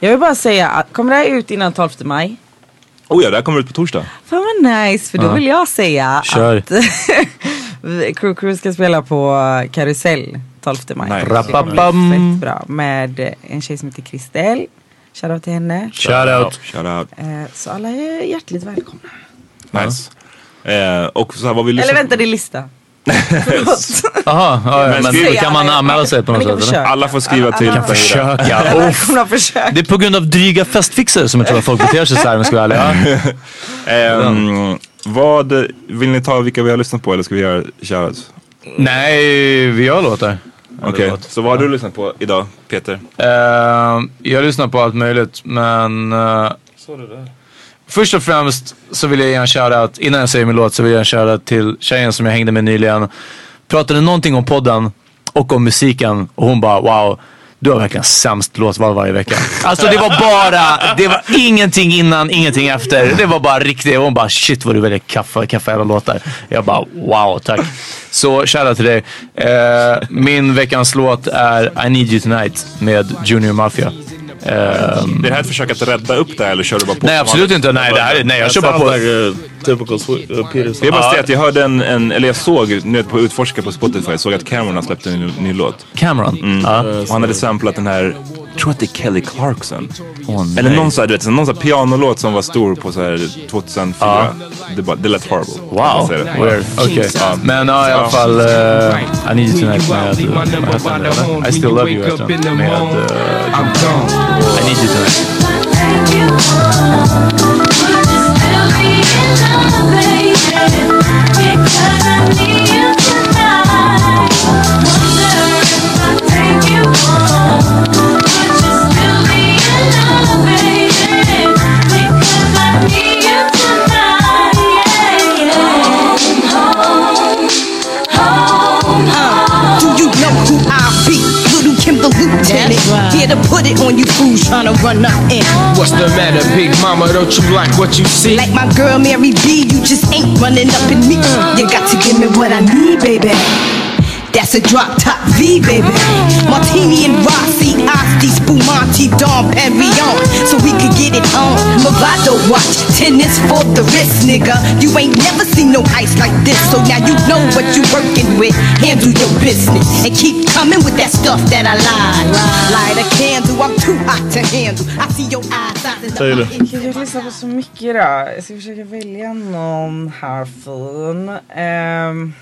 Speaker 2: Jag vill bara säga, att- kommer det här ut innan 12 maj?
Speaker 3: Oh ja, det här kommer ut på torsdag.
Speaker 2: Fan vad nice, för då vill jag säga
Speaker 1: Kör.
Speaker 2: att vi- Crew Crew ska spela på Karusell 12 maj.
Speaker 3: Nice.
Speaker 2: Det kommer
Speaker 1: Rappapam.
Speaker 2: bli fett bra med en tjej som heter Kristel. Shoutout till henne.
Speaker 1: Shoutout.
Speaker 3: Shout out.
Speaker 2: Eh, Så alla är hjärtligt välkomna.
Speaker 3: Nice. Eh, och så här, vad vill du
Speaker 2: Eller vänta, det är lista. Förlåt.
Speaker 1: Jaha, ja,
Speaker 3: Men
Speaker 1: men,
Speaker 3: skriv-
Speaker 1: men kan man anmäla sig på något
Speaker 2: Vi kan
Speaker 1: sätt? eller?
Speaker 2: försöka.
Speaker 3: Alla får skriva till
Speaker 1: Jag kan
Speaker 3: Tahira.
Speaker 1: försöka. Uff.
Speaker 2: Välkomna försök.
Speaker 1: Det är på grund av dryga festfixare som jag tror att folk beter sig såhär om jag ska vara ärlig.
Speaker 3: Ehm, vad, vill ni ta vilka vi har lyssnat på eller ska vi göra shoutouts?
Speaker 1: Nej, vi gör låtar.
Speaker 3: Okej,
Speaker 1: låt.
Speaker 3: så vad har du lyssnat på idag Peter?
Speaker 1: Eh, jag lyssnar på allt möjligt, men... eh, först och främst så vill jag ge en shoutout, innan jag säger min låt, så vill jag ge en shoutout till tjejen som jag hängde med nyligen. Pratade någonting om podden och om musiken och hon bara wow. Du har verkligen sämst låtval varje vecka. Alltså det var bara, det var ingenting innan, ingenting efter. Det var bara riktigt. Hon bara shit vad du väljer kaffa, kaffa jävla låtar. Jag bara wow, tack. Så shoutout till dig. Eh, min veckans låt är I need you tonight med Junior Mafia.
Speaker 3: Det här ett försök att rädda upp det här, eller kör du bara på?
Speaker 1: Nej
Speaker 3: som
Speaker 1: absolut
Speaker 3: vanligt?
Speaker 1: inte. Nej, det här, är- nej jag
Speaker 4: That
Speaker 1: kör bara
Speaker 4: sounds
Speaker 1: på.
Speaker 4: like a typical Swe- uh, Peter
Speaker 3: Det är bara
Speaker 1: Ja.
Speaker 3: det att jag hörde en, en eller jag såg, nu på Utforska på Spotify, såg att Cameron har släppt en ny, ny låt.
Speaker 1: Cameron. Ja.
Speaker 3: Och han hade samplat den här, jag tror att det är Kelly Clarkson.
Speaker 1: Åh, nej.
Speaker 3: Eller någon sån här, du vet, någon sån här pianolåt som var stor på så här 2004. Det, bara, det lät horrible.
Speaker 1: Wow, weird. Okej. Men ja, i alla fall. eh, I need you tonight med... eh, vad heter den? I still love you heter den. Med... eh, I need you tonight.
Speaker 9: Do you know who I here to put it on you fools trying to run up in.
Speaker 10: What's the matter, big mama? Don't you like what you see?
Speaker 9: Like my girl Mary B, you just ain't running up in me. You got to give me what I need, baby. That's a drop top V, baby. Martini and Rossi, Asti, Spumante, Don Perignon. So we could get it on. Movado watch, tennis for the wrist, nigga. You ain't never seen no ice like this. So now you know what you working with. Handle your business and keep coming with that stuff that I lied. Light a candle, I'm too hot to handle. I see your eyes, I
Speaker 4: Säger du.
Speaker 2: Gud, Jag lyssnar på så mycket idag. Jag ska försöka välja någon här fin. Um,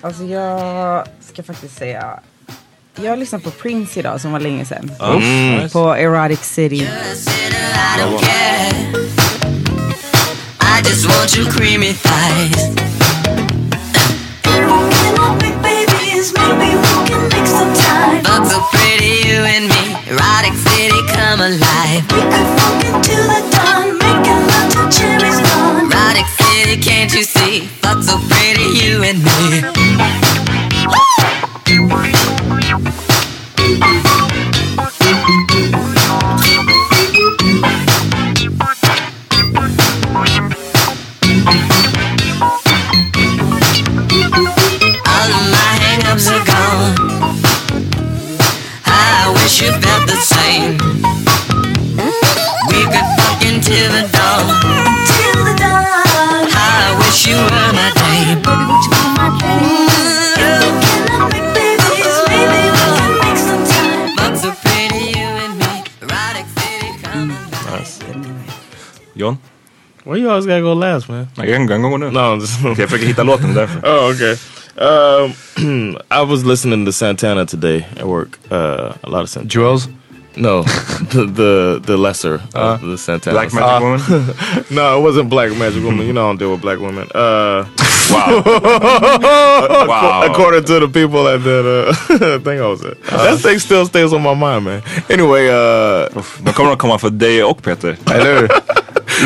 Speaker 2: alltså jag ska faktiskt säga. Jag lyssnade på Prince idag som var länge sedan.
Speaker 9: Mm.
Speaker 2: På Erotic City.
Speaker 9: I don't care. I just want your creamy thighs. But so pretty, you and me, erotic city, come alive. We could fuck until the dawn, making love till cherries gone. Erotic city, can't you see? Fuck so pretty, you and me. All of my hangups are gone. I wish you felt the same. We could fuck until the dawn. Till the dawn. I wish you were my dame. Baby, would you be my
Speaker 3: John?
Speaker 4: Why you always gotta go last man?
Speaker 3: Jag kan jag kan gå nu.
Speaker 4: No, I'm just...
Speaker 3: Jag försöker hitta låten därför.
Speaker 4: Oh, okay. Um, I was listening to Santana today at work. Uh, a lot of Santana.
Speaker 1: Jewels?
Speaker 4: No, the the, the lesser of the Santana.
Speaker 3: Black
Speaker 1: Ah.
Speaker 3: Magic typ Woman?
Speaker 4: No, it wasn't Black Magic Woman. You know I don't deal with black women. Uh,
Speaker 3: Wow. Wow.
Speaker 4: According to the people at that Oh. uh, thing I was at. that thing still stays on my mind, man. Anyway, uh,
Speaker 3: De kommer att komma för dig och Peter.
Speaker 1: Eller hur?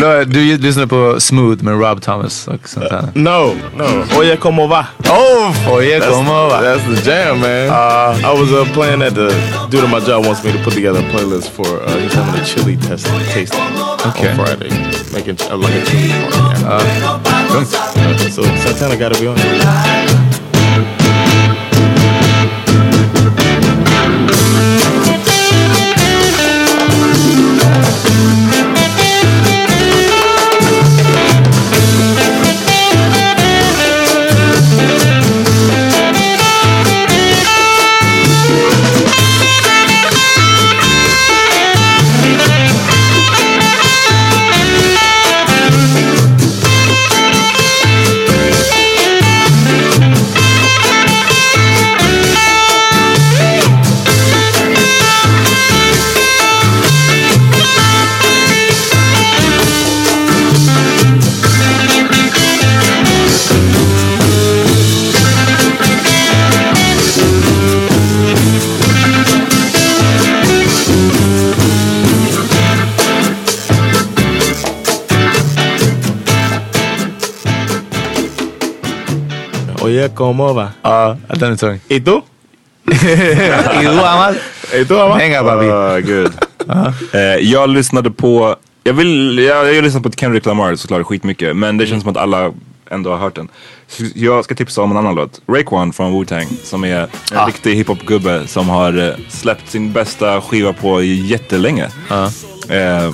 Speaker 1: Lo- Du lyssnar på Smooth med Rob Thomas och sånt där.
Speaker 4: no, no. Oye, como va?
Speaker 1: Oh! Oye,
Speaker 4: That's,
Speaker 1: como va?
Speaker 4: that's the jam, man. Uh, I was uh, playing at the dude at my job wants me to put together a playlist for uh, he's having a chili test tasting
Speaker 1: Okay.
Speaker 4: on Friday, making ch- uh, like a chili. party. Uh, so Santana got to be on it. Oye, como va?
Speaker 3: Uh,
Speaker 1: Ja, den är tung.
Speaker 4: ¿Y tú?
Speaker 1: Igual.
Speaker 4: ¿Y tú, mamá?
Speaker 1: Hänga babi.
Speaker 3: Ah, gud. Eh, jag lyssnade på, jag vill, jag, jag lyssnade på Kendrick Lamar såklart skitmycket men det känns som att alla ändå har hört den. Så jag ska tipsa om en annan låt, Raekwon från Wu-Tang som är en riktig hiphop-gubbe som har eh, släppt sin bästa skiva på jättelänge. Eh,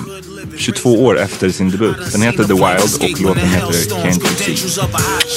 Speaker 3: 22 år efter sin debut. Den heter The Wild och låten heter Can't You See.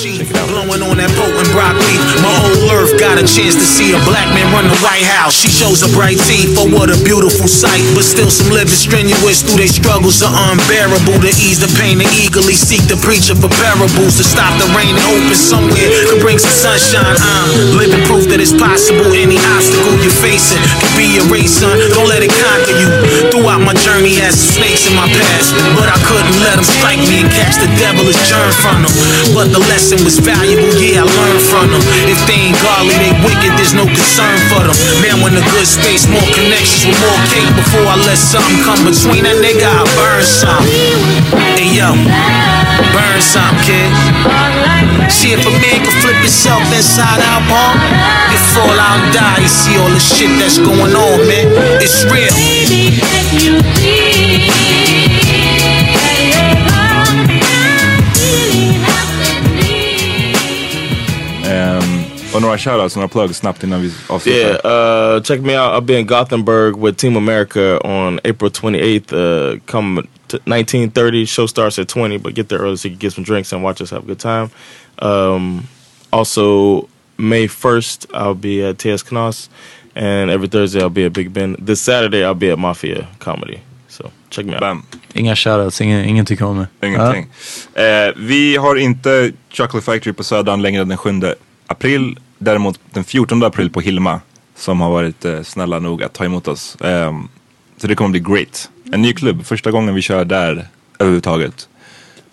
Speaker 3: Check it out.
Speaker 10: Blowing on that potent broccoli. My whole earth got a chance to see a black man run the White House. She shows a bright teeth, oh what a beautiful sight. But still, some living strenuous through their struggles are unbearable. To ease the pain and eagerly seek the preacher for parables to stop the rain and open somewhere could bring some sunshine. I'm living proof that it's possible. Any obstacle you're facing can be erased, son. Don't let it conquer you. Throughout my journey, had some snakes in my past, but I couldn't let them strike me and catch the devilish germ from them. But the lesson was valuable, yeah, I learned from them. If they ain't godly, they wicked, there's no concern for them. Man, when the good space, more connections with more cake. Before I let something come between that nigga, I burn some. Hey yo, burn some, kid. Shit, if a man can flip flip itself inside out, punk. You fall out and die, you see all the shit that's going on, man. It's real.
Speaker 3: Ehm, och några shoutouts, några plugs snabbt innan vi avslutar.
Speaker 4: Yeah, uh, check me out. I'll be in Gothenburg with Team America on April 28th. Uh, come t- 1930. Show starts at 20, but get there early so you can get some drinks and watch us have a good time. Um, also, May 1st, I'll be at TS Knoss. And every Thursday, I'll be at Big Ben. This Saturday, I'll be at Mafia Comedy. So check me out.
Speaker 1: Inga shoutouts, ingen, ingenting kommer.
Speaker 3: Ingenting. Eh, vi har inte Chocolate Factory på Södran längre än den 7 april. Däremot den 14 april på Hilma. Som har varit eh, snälla nog att ta emot oss. Ehm, så det kommer bli great. En ny klubb, första gången vi kör där överhuvudtaget.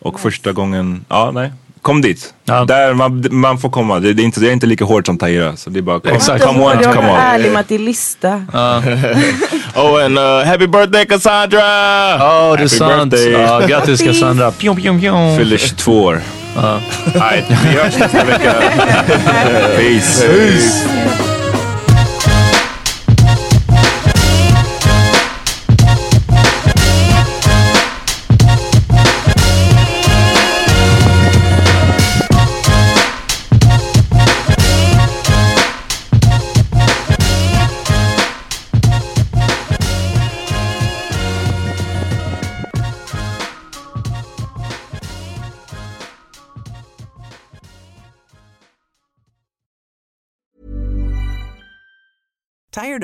Speaker 3: Och första gången, ja nej. Kom dit. Där man, man får komma. Det, det, är inte, det är inte lika hårt som Tahira. Så det är bara kom,
Speaker 4: Exakt.
Speaker 3: come
Speaker 4: Du
Speaker 3: on,
Speaker 4: har
Speaker 3: come
Speaker 4: varit
Speaker 3: on.
Speaker 2: Ärlig med att det är lista.
Speaker 4: oh, and uh, happy birthday, Cassandra!
Speaker 1: Ja, det är
Speaker 4: Happy
Speaker 1: sant.
Speaker 4: birthday.
Speaker 1: Ja, grattis Cassandra. Pjom, pjom, pjom.
Speaker 3: Fyller 22 år.
Speaker 1: Ja.
Speaker 3: Nej, vi hörs nästa vecka. Peace. Peace.
Speaker 6: Tired